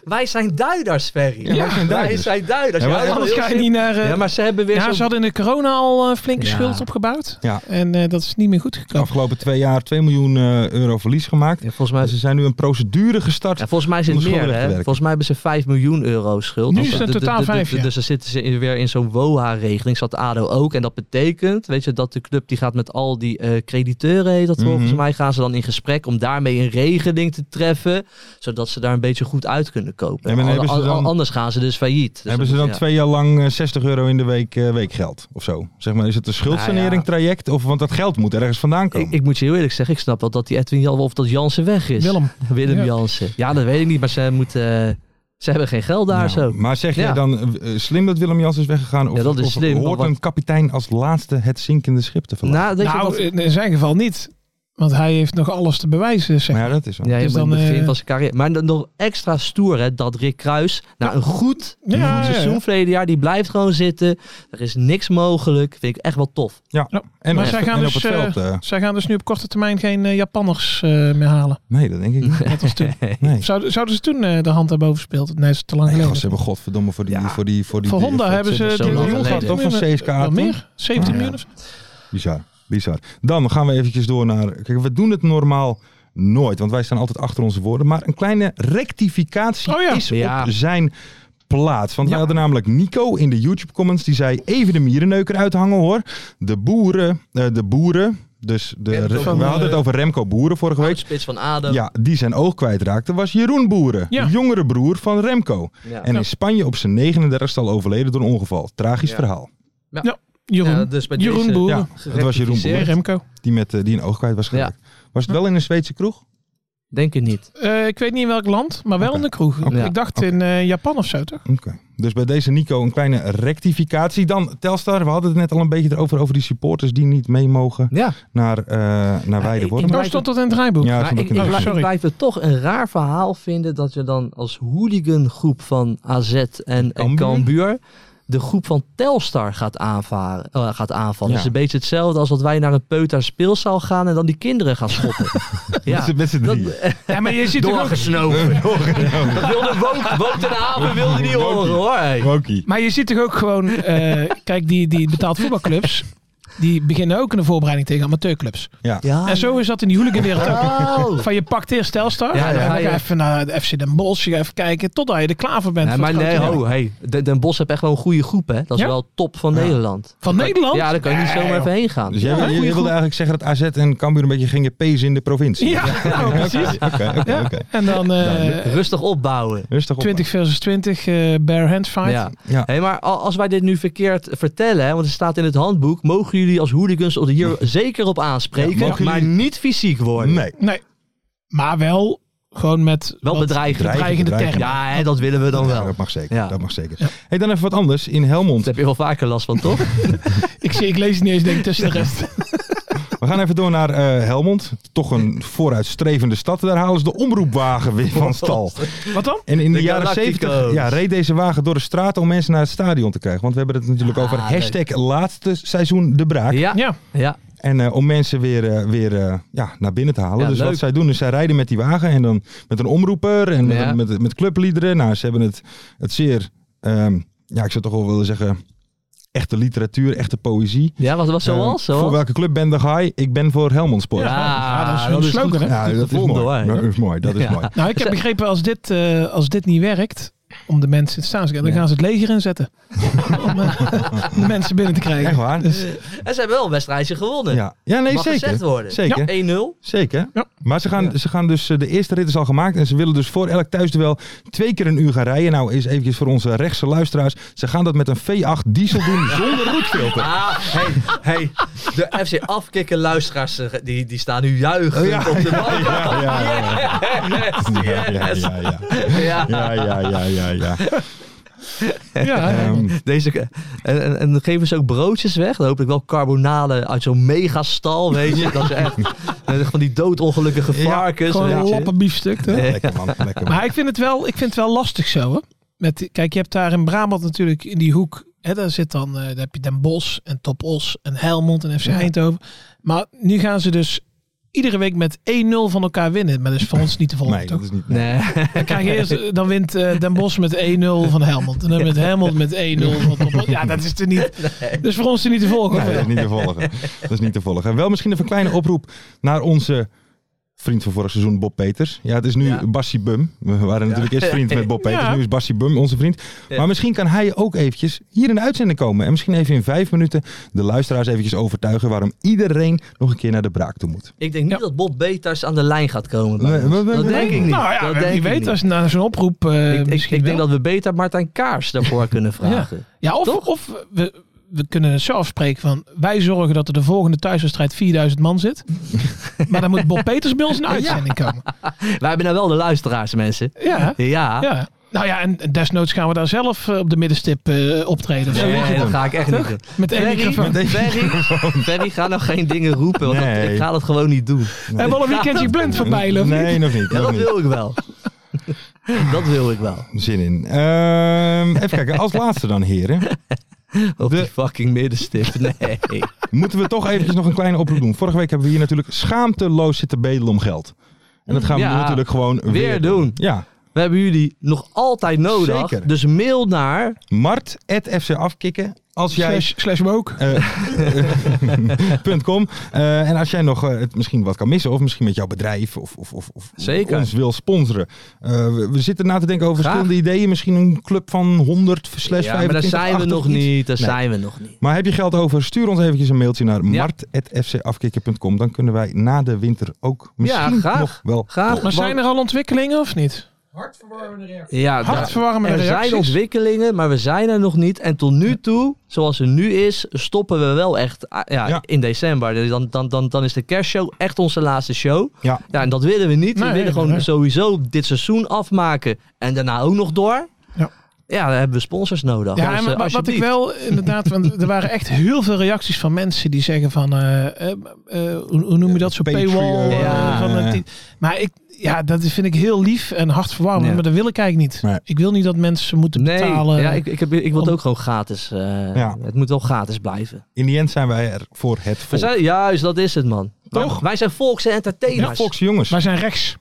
E: Wij zijn duiders, Ferry.
C: Ja, wij zijn duiders.
E: Wij zijn duiders.
C: Ja, maar
E: Jij wil
D: Anders
E: heel
D: ga je
E: simpel-
D: niet naar... eh,
E: Ja, maar ze hebben weer
D: ja, ze
E: zo'n
D: hadden in de corona al eh, flinke
E: Ja.
D: schuld opgebouwd.
C: Ja.
D: En eh, dat is niet meer goed
C: De
D: gekomen.
C: afgelopen twee jaar 2 miljoen eh, euro verlies gemaakt.
E: Ja, volgens
C: Maar
E: mij,
C: ze zijn nu een procedure gestart.
E: ja, dus volgens mij is
C: Om
E: het
C: de
E: meer.
C: schulden weg
E: Hè?
C: te werken.
E: Volgens mij hebben ze 5 miljoen euro schuld.
D: Nu
E: Dus
D: is het
E: de-
D: in
E: de-
D: totaal
E: de- de-
D: vijf, ja.
E: Dus dan zitten ze in- weer in zo'n WOHA-regeling. Zat ADO ook. En dat betekent weet je, dat de club die gaat met al die eh, crediteuren, heet dat volgens
C: Mhm.
E: mij, gaan ze dan in gesprek om daarmee een regeling te treffen. Zodat ze daar een beetje goed uit kunnen kopen.
C: En dan
E: Al-
C: hebben ze
E: al- al-
C: dan-
E: anders gaan ze dus failliet. Dus
C: hebben
E: dat
C: ze dan
E: moet- ja.
C: twee jaar lang eh, 60 euro in de week eh, weekgeld of zo? Zeg maar, is het een schuldsanering traject? Of, want dat geld moet ergens vandaan komen.
E: Nou Ik, ik moet je heel eerlijk zeggen, ik snap wel dat die Edwin Jan of dat Jansen weg is.
D: Willem.
E: Willem
D: Ja.
E: Jansen. Ja, dat weet ik niet, maar ze moeten. eh, ze hebben geen geld daar
C: Nou,
E: zo.
C: Maar zeg jij
E: Ja.
C: dan eh, slim dat Willem Jans is weggegaan? Of,
E: Ja, dat is
C: of
E: slim,
C: hoort
E: want-
C: een kapitein als laatste het zinkende schip te verlaten?
E: Nou, weet je
D: Nou,
E: wat-
D: in in zijn geval niet. Want hij heeft nog alles te bewijzen, zeg
C: maar ja, dat is wel.
E: Ja, je
D: Dus
E: moet
D: dan,
E: in het begin
D: eh,
E: van zijn carrière. Maar dan nog extra stoer hè, dat Rick Kruis na een goed
D: Ja, ja, ja.
E: seizoen verleden jaar, die blijft gewoon zitten. Er is niks mogelijk. Vind ik echt wel tof.
C: Ja. En,
D: maar
C: op,
D: zij
C: het-
D: gaan,
C: en
D: dus,
C: op het veld.
D: eh,
C: eh,
D: zij gaan dus nu op korte termijn geen eh, Japanners eh, meer halen.
C: nee, dat denk ik niet.
D: Net als toen.
C: Nee.
D: Zouden, zouden ze toen eh, de hand daarboven gespeeld? Nee, dat is te lang
C: Nee,
D: geleden.
C: gast, ze hebben godverdomme voor die...
E: Ja.
C: Voor, die, voor, die,
D: Voor Honda
C: voor-
D: hebben ze
E: zo
D: de
E: lang
D: miljoen gehad,
E: geleden.
D: toch?
C: Van CSKA
D: Wel
C: toen?
D: meer?
C: Ah,
D: 17
C: ja.
D: miljoen of zo?
C: Bizar, bizar. Dan gaan we eventjes door naar... Kijk, we doen het normaal nooit, want wij staan altijd achter onze woorden. Maar een kleine rectificatie
D: Oh ja.
C: is
E: Ja.
C: op zijn plaats. Want wij hadden namelijk Nico in de YouTube comments. Die zei even de mierenneuker uithangen hoor. De boeren, eh, de boeren... Dus de,
D: Remco
C: we
D: van,
C: hadden het
D: eh,
C: over Remco Boeren vorige week.
E: Spits van Adem.
C: Ja, die zijn oog kwijtraakte was Jeroen Boeren,
D: Ja.
C: de jongere broer van Remco.
E: Ja.
C: En in Spanje op zijn 39ste al overleden door een ongeval. Tragisch
E: Ja.
C: verhaal.
D: Jeroen.
E: Ja, dus bij
D: Jeroen
E: deze-
D: Boeren.
C: Ja, dat was Jeroen
D: Hey,
C: Boeren,
D: Remco.
C: die, met, eh, die een oog kwijt was geraakt. Was het wel in een Zweedse kroeg?
E: Denk ik niet.
D: Eh, ik weet niet in welk land, maar wel
C: Oké.
D: in de kroeg.
E: Oké.
D: Ik dacht in eh, Japan of zo, toch?
C: Oké. Dus bij deze Nico een kleine rectificatie. Dan Telstar, we hadden het net al een beetje erover, over die supporters die niet mee mogen
E: Ja.
C: naar, eh naar Weideworm.
E: ik-
D: Zo stond dat in het draaiboek.
C: Ja,
E: Maar
C: vond
E: ik,
C: ik
E: ik,
C: een-
E: ik,
D: sorry.
E: blijf het toch een raar verhaal vinden dat je dan als hooligangroep van AZ en en
C: Cambuur?
E: Cambuur de groep van Telstar gaat, aanvaren, eh, gaat aanvallen. Het
C: Ja.
E: is een beetje hetzelfde als dat wij naar een peuter speelzaal gaan en dan die kinderen gaan schoppen.
C: Met z'n- met z'n
E: Dat-
C: drieën.
D: Ja, maar je ziet toch ook...
E: Doorgesnoven. Dat wilde Wout, Wout en Haven wilde niet horen hoor. Hey.
C: Wokkie.
D: Maar je ziet toch ook gewoon... eh, kijk, die, die betaald voetbalclubs... die beginnen ook in de voorbereiding tegen amateurclubs.
C: Ja.
E: Ah, Ja,
D: En zo is dat in die hooliganwereld ook.
E: Oh.
D: Van je pakt eerst Telstar.
E: Ja,
D: en dan
E: ja,
D: ga je
E: ja.
D: even naar de FC Den Bosch. Je gaat even kijken totdat je er klaar voor bent.
E: Nee,
D: voor
E: maar
D: het
E: nee,
D: grote werk.
E: ho, hey. Den, Den Bosch heeft echt wel een goede groep, hè? Dat is
D: Ja?
E: wel top van Nederland.
D: Van Nederland?
E: Oh. Ja, daar kan je niet
D: Nee,
E: zomaar
D: joh.
E: even heen gaan.
C: Dus jij,
D: Ja,
C: jij
D: goeie
C: wilde
D: groep.
C: eigenlijk zeggen dat AZ en Cambuur een beetje gingen pezen in de provincie.
D: Ja, nou, precies.
C: Oké, oké,
D: Ja.
C: oké.
D: En dan eh,
E: Rustig opbouwen.
C: Rustig op.
D: 20 versus 20, eh bare hand fight.
E: Ja.
C: Ja.
E: Hey, maar al- als wij dit nu verkeerd vertellen, hè, want het staat in het handboek, mogen jullie als hooligans er hier zeker op
C: Ja,
E: aanspreken,
C: mogen
E: maar
C: jullie-
E: niet fysiek worden.
C: Nee.
D: Nee, maar wel gewoon met
E: Wel
D: wat
E: bedreigend.
D: dreigende
C: bedreigend.
D: termen.
E: Ja, hè, dat willen we dan
C: Ja,
E: wel.
C: Dat mag zeker.
E: Ja.
C: Dat mag zeker. Hey, dan even wat anders. In Helmond.
E: Dat heb je wel vaker last van, toch?
D: Ik, zie, ik lees het niet eens, denk ik, tussen de rest.
C: We gaan even door naar eh, Helmond. Toch een vooruitstrevende stad. Daar halen ze de omroepwagen weer van stal.
D: Wat dan?
C: En in de,
E: De
C: jaren
E: Galactico's.
C: 70 ja, reed deze wagen door de straat om mensen naar het stadion te krijgen. Want we hebben het natuurlijk over
E: Ah, leuk.
C: hashtag laatste seizoen de braak.
E: Ja, ja.
D: Ja,
E: ja.
C: En eh, om mensen weer, eh, weer eh, ja, naar binnen te halen.
E: Ja,
C: dus
E: leuk.
C: wat zij doen is zij rijden met die wagen en dan met een omroeper en met,
E: Ja.
C: met, met, clubliederen. Nou, ze hebben het, het zeer, ehm, ja, ik zou toch wel willen zeggen, echte literatuur, echte poëzie.
E: wat was zoals?
C: Eh,
E: zoals?
C: Voor welke clubband dan ga je? Ik ben voor Helmond Sport.
E: Ja,
D: Ja, dat is hun
E: dat is
D: slogan,
E: goed.
D: hè?
C: Ja, dat is,
E: gevonden,
C: mooi.
E: hoor.
C: dat is mooi. Dat is
E: Ja.
C: mooi.
D: nou ik heb begrepen als dit, eh, als dit niet werkt, om de mensen in het staan te krijgen, dan gaan ze het leger inzetten. om eh, de mensen binnen te krijgen.
C: Echt waar?
D: Dus,
E: En ze hebben wel een wedstrijdje gewonnen.
C: Ja, ja nee,
E: Mag gezegd
C: zeker.
E: worden.
C: Zeker.
E: 1-0.
C: Zeker.
D: Ja.
C: Maar ze gaan, ze gaan dus, eh, de eerste rit is al gemaakt en ze willen dus voor elk thuisduel twee keer een uur gaan rijden. Nou, is eventjes voor onze rechtse luisteraars. Ze gaan dat met een V8 diesel doen zonder roetfilter.
E: Ah, hey, hey. De FC Afkikken luisteraars, eh, die, die staan nu juichend
C: Ja,
E: op de bank.
C: ja, ja,
E: Yes,
C: Ja, ja,
E: yes.
C: ja, ja.
E: Ja.
C: Ja, ja, ja, ja, ja.
D: ja,
C: Ehm,
E: Deze, en, en, en dan geven ze ook broodjes weg. Dan hoop ik wel carbonade uit zo'n megastal, weet je. Dat is echt eh, van die doodongelukkige
C: Ja,
E: varkens.
D: gewoon een
E: weet je.
D: lappen biefstuk. toch?
C: lekker man, lekker man.
D: Maar ik vind het wel, ik vind het wel lastig zo. Hè? Met, kijk, je hebt daar in Brabant natuurlijk in die hoek. Hè, daar zit dan, eh, daar heb je Den Bosch en Top Os en Helmond en FC Eindhoven. Maar nu gaan ze dus iedere week met 1-0 van elkaar winnen. Maar dat is voor ons niet te volgen,
C: Nee,
D: toch?
C: dat is niet.
E: Nee.
D: Dan, krijg je eerst, eh, dan wint eh, Den Bos met 1-0 van Helmond. En dan met Helmond met 1-0 van Topos. Ja, dat is er niet. Dus voor ons er niet te volgen.
C: Nee, dat is niet te volgen. Dat is niet te volgen. Wel misschien even een kleine oproep naar onze vriend van vorig seizoen, Bob Peters. Ja, het is nu
E: Ja.
C: Bassie Bum. We waren natuurlijk eerst vriend met Bob Peters.
D: Ja.
C: Nu is Bassie Bum onze vriend.
E: Ja.
C: Maar misschien kan hij ook eventjes hier in de uitzending komen. En misschien even in vijf minuten de luisteraars eventjes overtuigen waarom iedereen nog een keer naar de braak toe moet.
E: Ik denk niet dat Bob Beters aan de lijn gaat komen. bij
C: Nee,
E: ons.
C: we- we-
E: dat
C: we-
E: denk ik niet.
D: Nou ja,
E: dat
D: wie
E: denk ik
D: weet
E: niet.
D: als na zo'n oproep eh,
E: Ik, ik,
D: misschien
E: ik denk
D: wel.
E: dat we beter Martijn Kaars daarvoor kunnen vragen.
D: Ja, of, of we, we kunnen het zo afspreken van... wij zorgen dat er de volgende thuiswedstrijd 4000 man zit. maar dan moet Bob Peters bij ons in de uitzending komen.
E: Wij hebben nou wel de luisteraars, mensen.
D: Ja,
E: Ja,
D: ja. Nou ja, en desnoods gaan we daar zelf eh, op de middenstip eh, optreden. of zo.
E: Nee, dat ga ik echt niet doen.
D: Met één microfoon.
E: Ferry, Ferry, Ferry, ga nou geen dingen roepen, want dat-
C: Nee.
E: ik ga dat gewoon niet doen.
D: We hebben al een weekendje blind voorbij, lopen.
C: Nee, nog niet.
E: Ja,
C: nog
E: dat
C: niet.
E: wil ik wel. Dat wil ik wel.
C: Zin in. Ehm, even kijken, als laatste dan heren.
E: Op
C: De-
E: die fucking middenstip. Nee.
C: Moeten we toch eventjes nog een kleine oproep doen. Vorige week hebben we hier natuurlijk schaamteloos zitten bedelen om geld. En dat gaan we
E: Ja,
C: nu natuurlijk gewoon weer,
E: weer doen.
C: Ja.
E: We hebben jullie nog altijd nodig.
C: Zeker.
E: Dus mail naar.
C: Mart at FC afkikken. Als jij.
D: Slash, slash woke.
C: eh, punt com. Eh, en als jij nog eh, het misschien wat kan missen, of misschien met jouw bedrijf of, of, of, of
E: Zeker.
C: ons wil sponsoren. Eh, we, we zitten na te denken over
E: Graag.
C: verschillende ideeën. Misschien een club van 100 slash
E: Ja, maar daar
C: 25,
E: zijn we
C: 80,
E: nog
C: iets.
E: niet. Daar
C: Nee.
E: zijn we nog niet.
C: Maar heb je geld over? Stuur ons eventjes een mailtje naar
E: Ja.
C: mart.fcafkikker.com. Dan kunnen wij na de winter ook misschien
E: graag.
C: nog wel.
E: Graag.
D: Maar zijn er al ontwikkelingen of niet?
E: Ja, daar-
D: Hartverwarmende
E: er
D: reacties.
E: zijn ontwikkelingen, maar we zijn er nog niet. En tot nu toe, zoals het nu is, stoppen we wel echt ah, ja,
C: Ja.
E: in december. Dus Dan, dan, dan, dan is de kerstshow echt onze laatste show.
C: Ja.
E: Ja, en dat willen we niet.
D: Nee,
E: we willen
D: nee,
E: gewoon
D: nee.
E: sowieso dit seizoen afmaken en daarna ook nog door.
D: Ja.
E: Ja, dan hebben we sponsors nodig.
D: Ja,
E: Dus,
D: maar
E: eh,
D: wat- wat
E: alsjeblieft.
D: ik wel inderdaad, want er waren echt heel veel reacties van mensen die zeggen van, eh, eh, eh, hoe, hoe noem je dat, zo
C: Patreon.
D: paywall. eh,
E: Ja.
D: van een ti- maar ik, ja, dat vind ik heel lief en hartverwarmend,
E: Ja.
D: maar dat wil ik eigenlijk niet.
C: Nee.
D: Ik wil niet dat mensen moeten
E: Nee,
D: betalen.
E: ja, ik, ik, heb, ik wil het
D: om-
E: ook gewoon gratis. eh,
C: Ja.
E: Het moet wel gratis blijven.
C: In die end zijn wij er voor het
E: We
C: volk.
E: zijn, juist, dat is het, man.
C: Toch?
E: Wij- Wij zijn volks en
C: Ja,
E: entertainers.
C: volkse jongens.
D: Wij zijn rechts.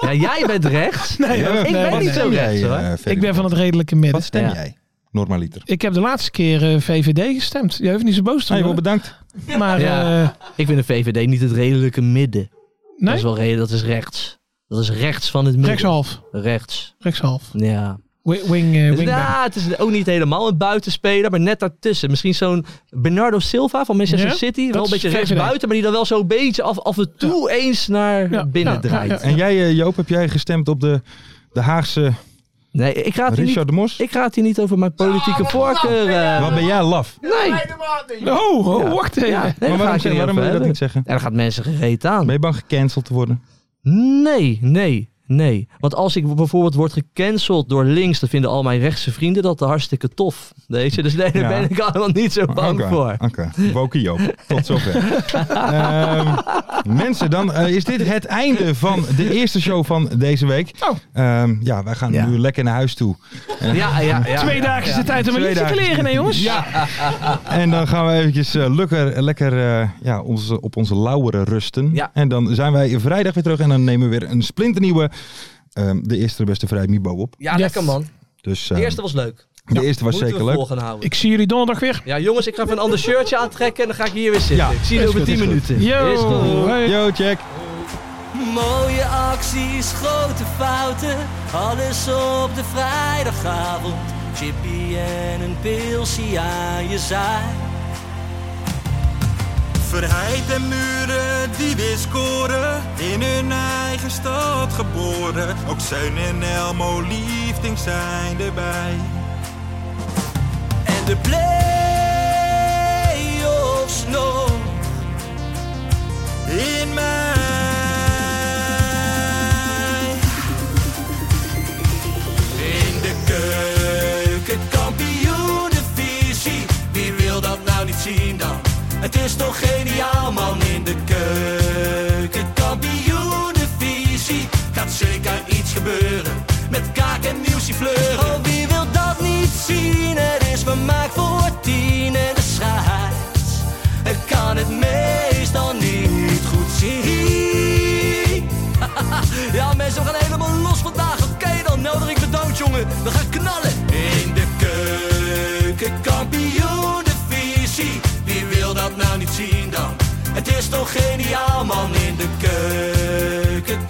E: Ja, jij bent rechts.
D: Nee,
C: Ja,
E: ik
D: nee,
E: ben niet
D: nee.
E: zo
C: Stem
E: rechts,
C: jij,
E: hoor.
C: eh, Ferry?
D: Ik ben van het redelijke midden.
C: Wat stem
E: Ja.
C: jij? Normaliter.
D: Ik heb de laatste keer eh, VVD gestemd. Jij hoeft niet zo boos te
C: Hey, wel
D: worden.
C: bedankt.
D: maar
E: Ja.
D: eh,
E: Ik vind de VVD niet het redelijke midden. Dat
D: nee,
E: is wel reden, dat is rechts. Dat is rechts van het midden.
D: rechtshalf.
E: Rechts.
D: Rechtshalf.
E: Ja.
D: Wi- Wing, eh,
E: Dus,
D: wing
E: nou, het is ook niet helemaal een buitenspeler, maar net daartussen. Misschien zo'n Bernardo Silva van Manchester
D: Ja,
E: City.
D: dat
E: Wel een
D: is
E: beetje
D: VVD.
E: rechts buiten, maar die dan wel zo'n beetje af, af en toe eens naar
D: Ja,
E: binnen
D: ja, ja,
E: draait.
D: ja.
C: En jij, eh, Joop, heb jij gestemd op de, de Haagse
E: Nee, ik ga het hier niet,
C: Richard de Mos?
E: ik ga het hier niet over mijn politieke voorkeur. eh,
C: Wat ben jij laf?
E: nee.
D: Oh, oh, wacht even.
E: Ja, nee, daar
C: Maar
E: ga ik
C: waarom,
E: je
C: zeg-
E: niet
C: waarom
E: over
C: wil je dat
E: hebben.
C: niet zeggen?
E: En dan gaat mensen gereed aan.
C: Ben je bang gecanceld te worden?
E: Nee, nee, nee. Want als ik bijvoorbeeld word gecanceld door links, dan vinden al mijn rechtse vrienden dat hartstikke tof. Weet je? Dus nee, daar
C: Ja.
E: ben ik allemaal niet zo bang
C: Oké,
E: voor.
C: Oké, Wokie Joop. Tot zover. Ehm, mensen, dan eh, is dit het einde van de eerste show van deze week.
D: Oh.
C: Ehm, ja, wij gaan
E: Ja.
C: nu lekker naar huis toe.
E: Ja, ja, ja. ja.
D: Twee dagen is de tijd om een
C: Twee
D: liedje te
C: dagen.
D: leren, hè jongens?
C: Ja. En dan gaan we eventjes eh, lekker, lekker eh, ja, onze, op onze lauweren rusten.
E: Ja.
C: En dan zijn wij vrijdag weer terug en dan nemen we weer een splinternieuwe... ehm, de eerste de beste vrij Mibo op.
E: Ja,
D: Yes.
E: lekker man.
C: Dus
E: De
C: ehm,
E: eerste was leuk.
C: de eerste was
E: Moeten
C: zeker
E: we
C: leuk.
E: vol gaan houden.
D: Ik zie jullie donderdag weer.
E: Ja, jongens, ik ga even een ander shirtje aantrekken en dan ga ik hier weer zitten.
C: Ja,
E: ik zie je
C: is
E: over
C: goed,
E: 10
C: is goed.
E: minuten.
D: Yo.
E: Is goed.
D: Hey.
C: Yo, check.
A: Mooie acties, grote fouten, alles op de vrijdagavond. Chippy en een pilsie aan je zaai.
B: Verheid en muren die weer scoren, in hun eigen stad geboren. Ook Zeun en Elmo Liefding zijn erbij.
A: En de play-offs nog
B: In mij.
A: in de keuken, kampioenenvisie. Wie wil dat nou niet zien dan? Het is toch geniaal man in de keuken, kampioenenvisie. Gaat zeker iets gebeuren met kaak en nieuwsie fleuren. Oh, wie wil dat niet zien? Het is vermaakt voor tien en de scheids. Het kan het meestal niet goed.
E: we gaan knallen. In de keuken, Wie wil dat nou niet zien dan? Het is toch geniaal man in de keuken,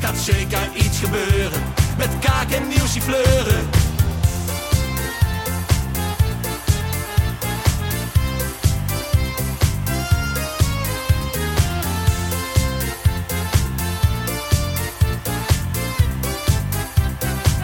E: Gaat zeker iets gebeuren, met kaak en nieuwsie fleuren.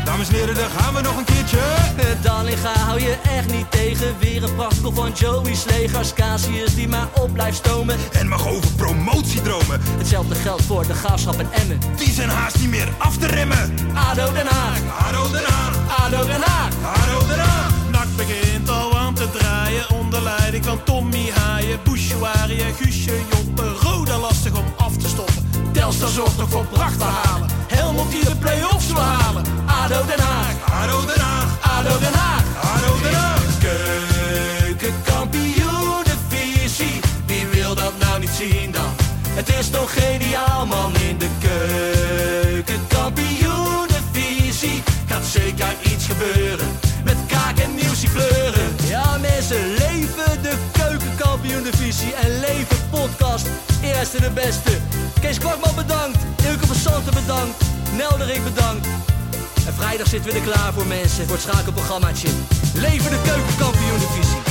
C: Dames en heren, daar gaan we nog een keertje.
E: Eh, Dallinga hou je echt niet tegen. Weer een prachtkel van Joey's legers. Casius die maar op blijft stomen.
C: En mag over promotiedromen.
E: Hetzelfde geldt voor de gaafschap en Emmen.
C: Die zijn haast niet meer af te remmen.
E: ADO Den Haag,
C: Haro eraan,
E: ADO Den Haag.
C: haro eraan.
H: Nak begint al aan te draaien onder leiding van Tommy Haaien, Bouchouari en Guusje Joppen. Roda lastig om af te stoppen.
E: Telstar zorgt nog voor pracht te halen. Helmond die de play-offs wil halen. ADO Den Haag,
C: Haro eraan,
E: ADO Den Haag.
C: haro eraan.
E: Keukenkampioenenvisie, wie wil dat nou niet zien dan? Het is toch geniaal man in de keukenkampioenenvisie. Gaat zeker iets gebeuren, met kaak en nieuwsie kleuren. Ja mensen, leven de keukenkampioenenvisie en leven podcast. Eerste de beste. Kees Kwakman bedankt, Ilke van Santen bedankt, Nelderik bedankt. En vrijdag zitten we er klaar voor mensen, voor het schakelprogrammaatje. Leven de keukenkampioen divisie.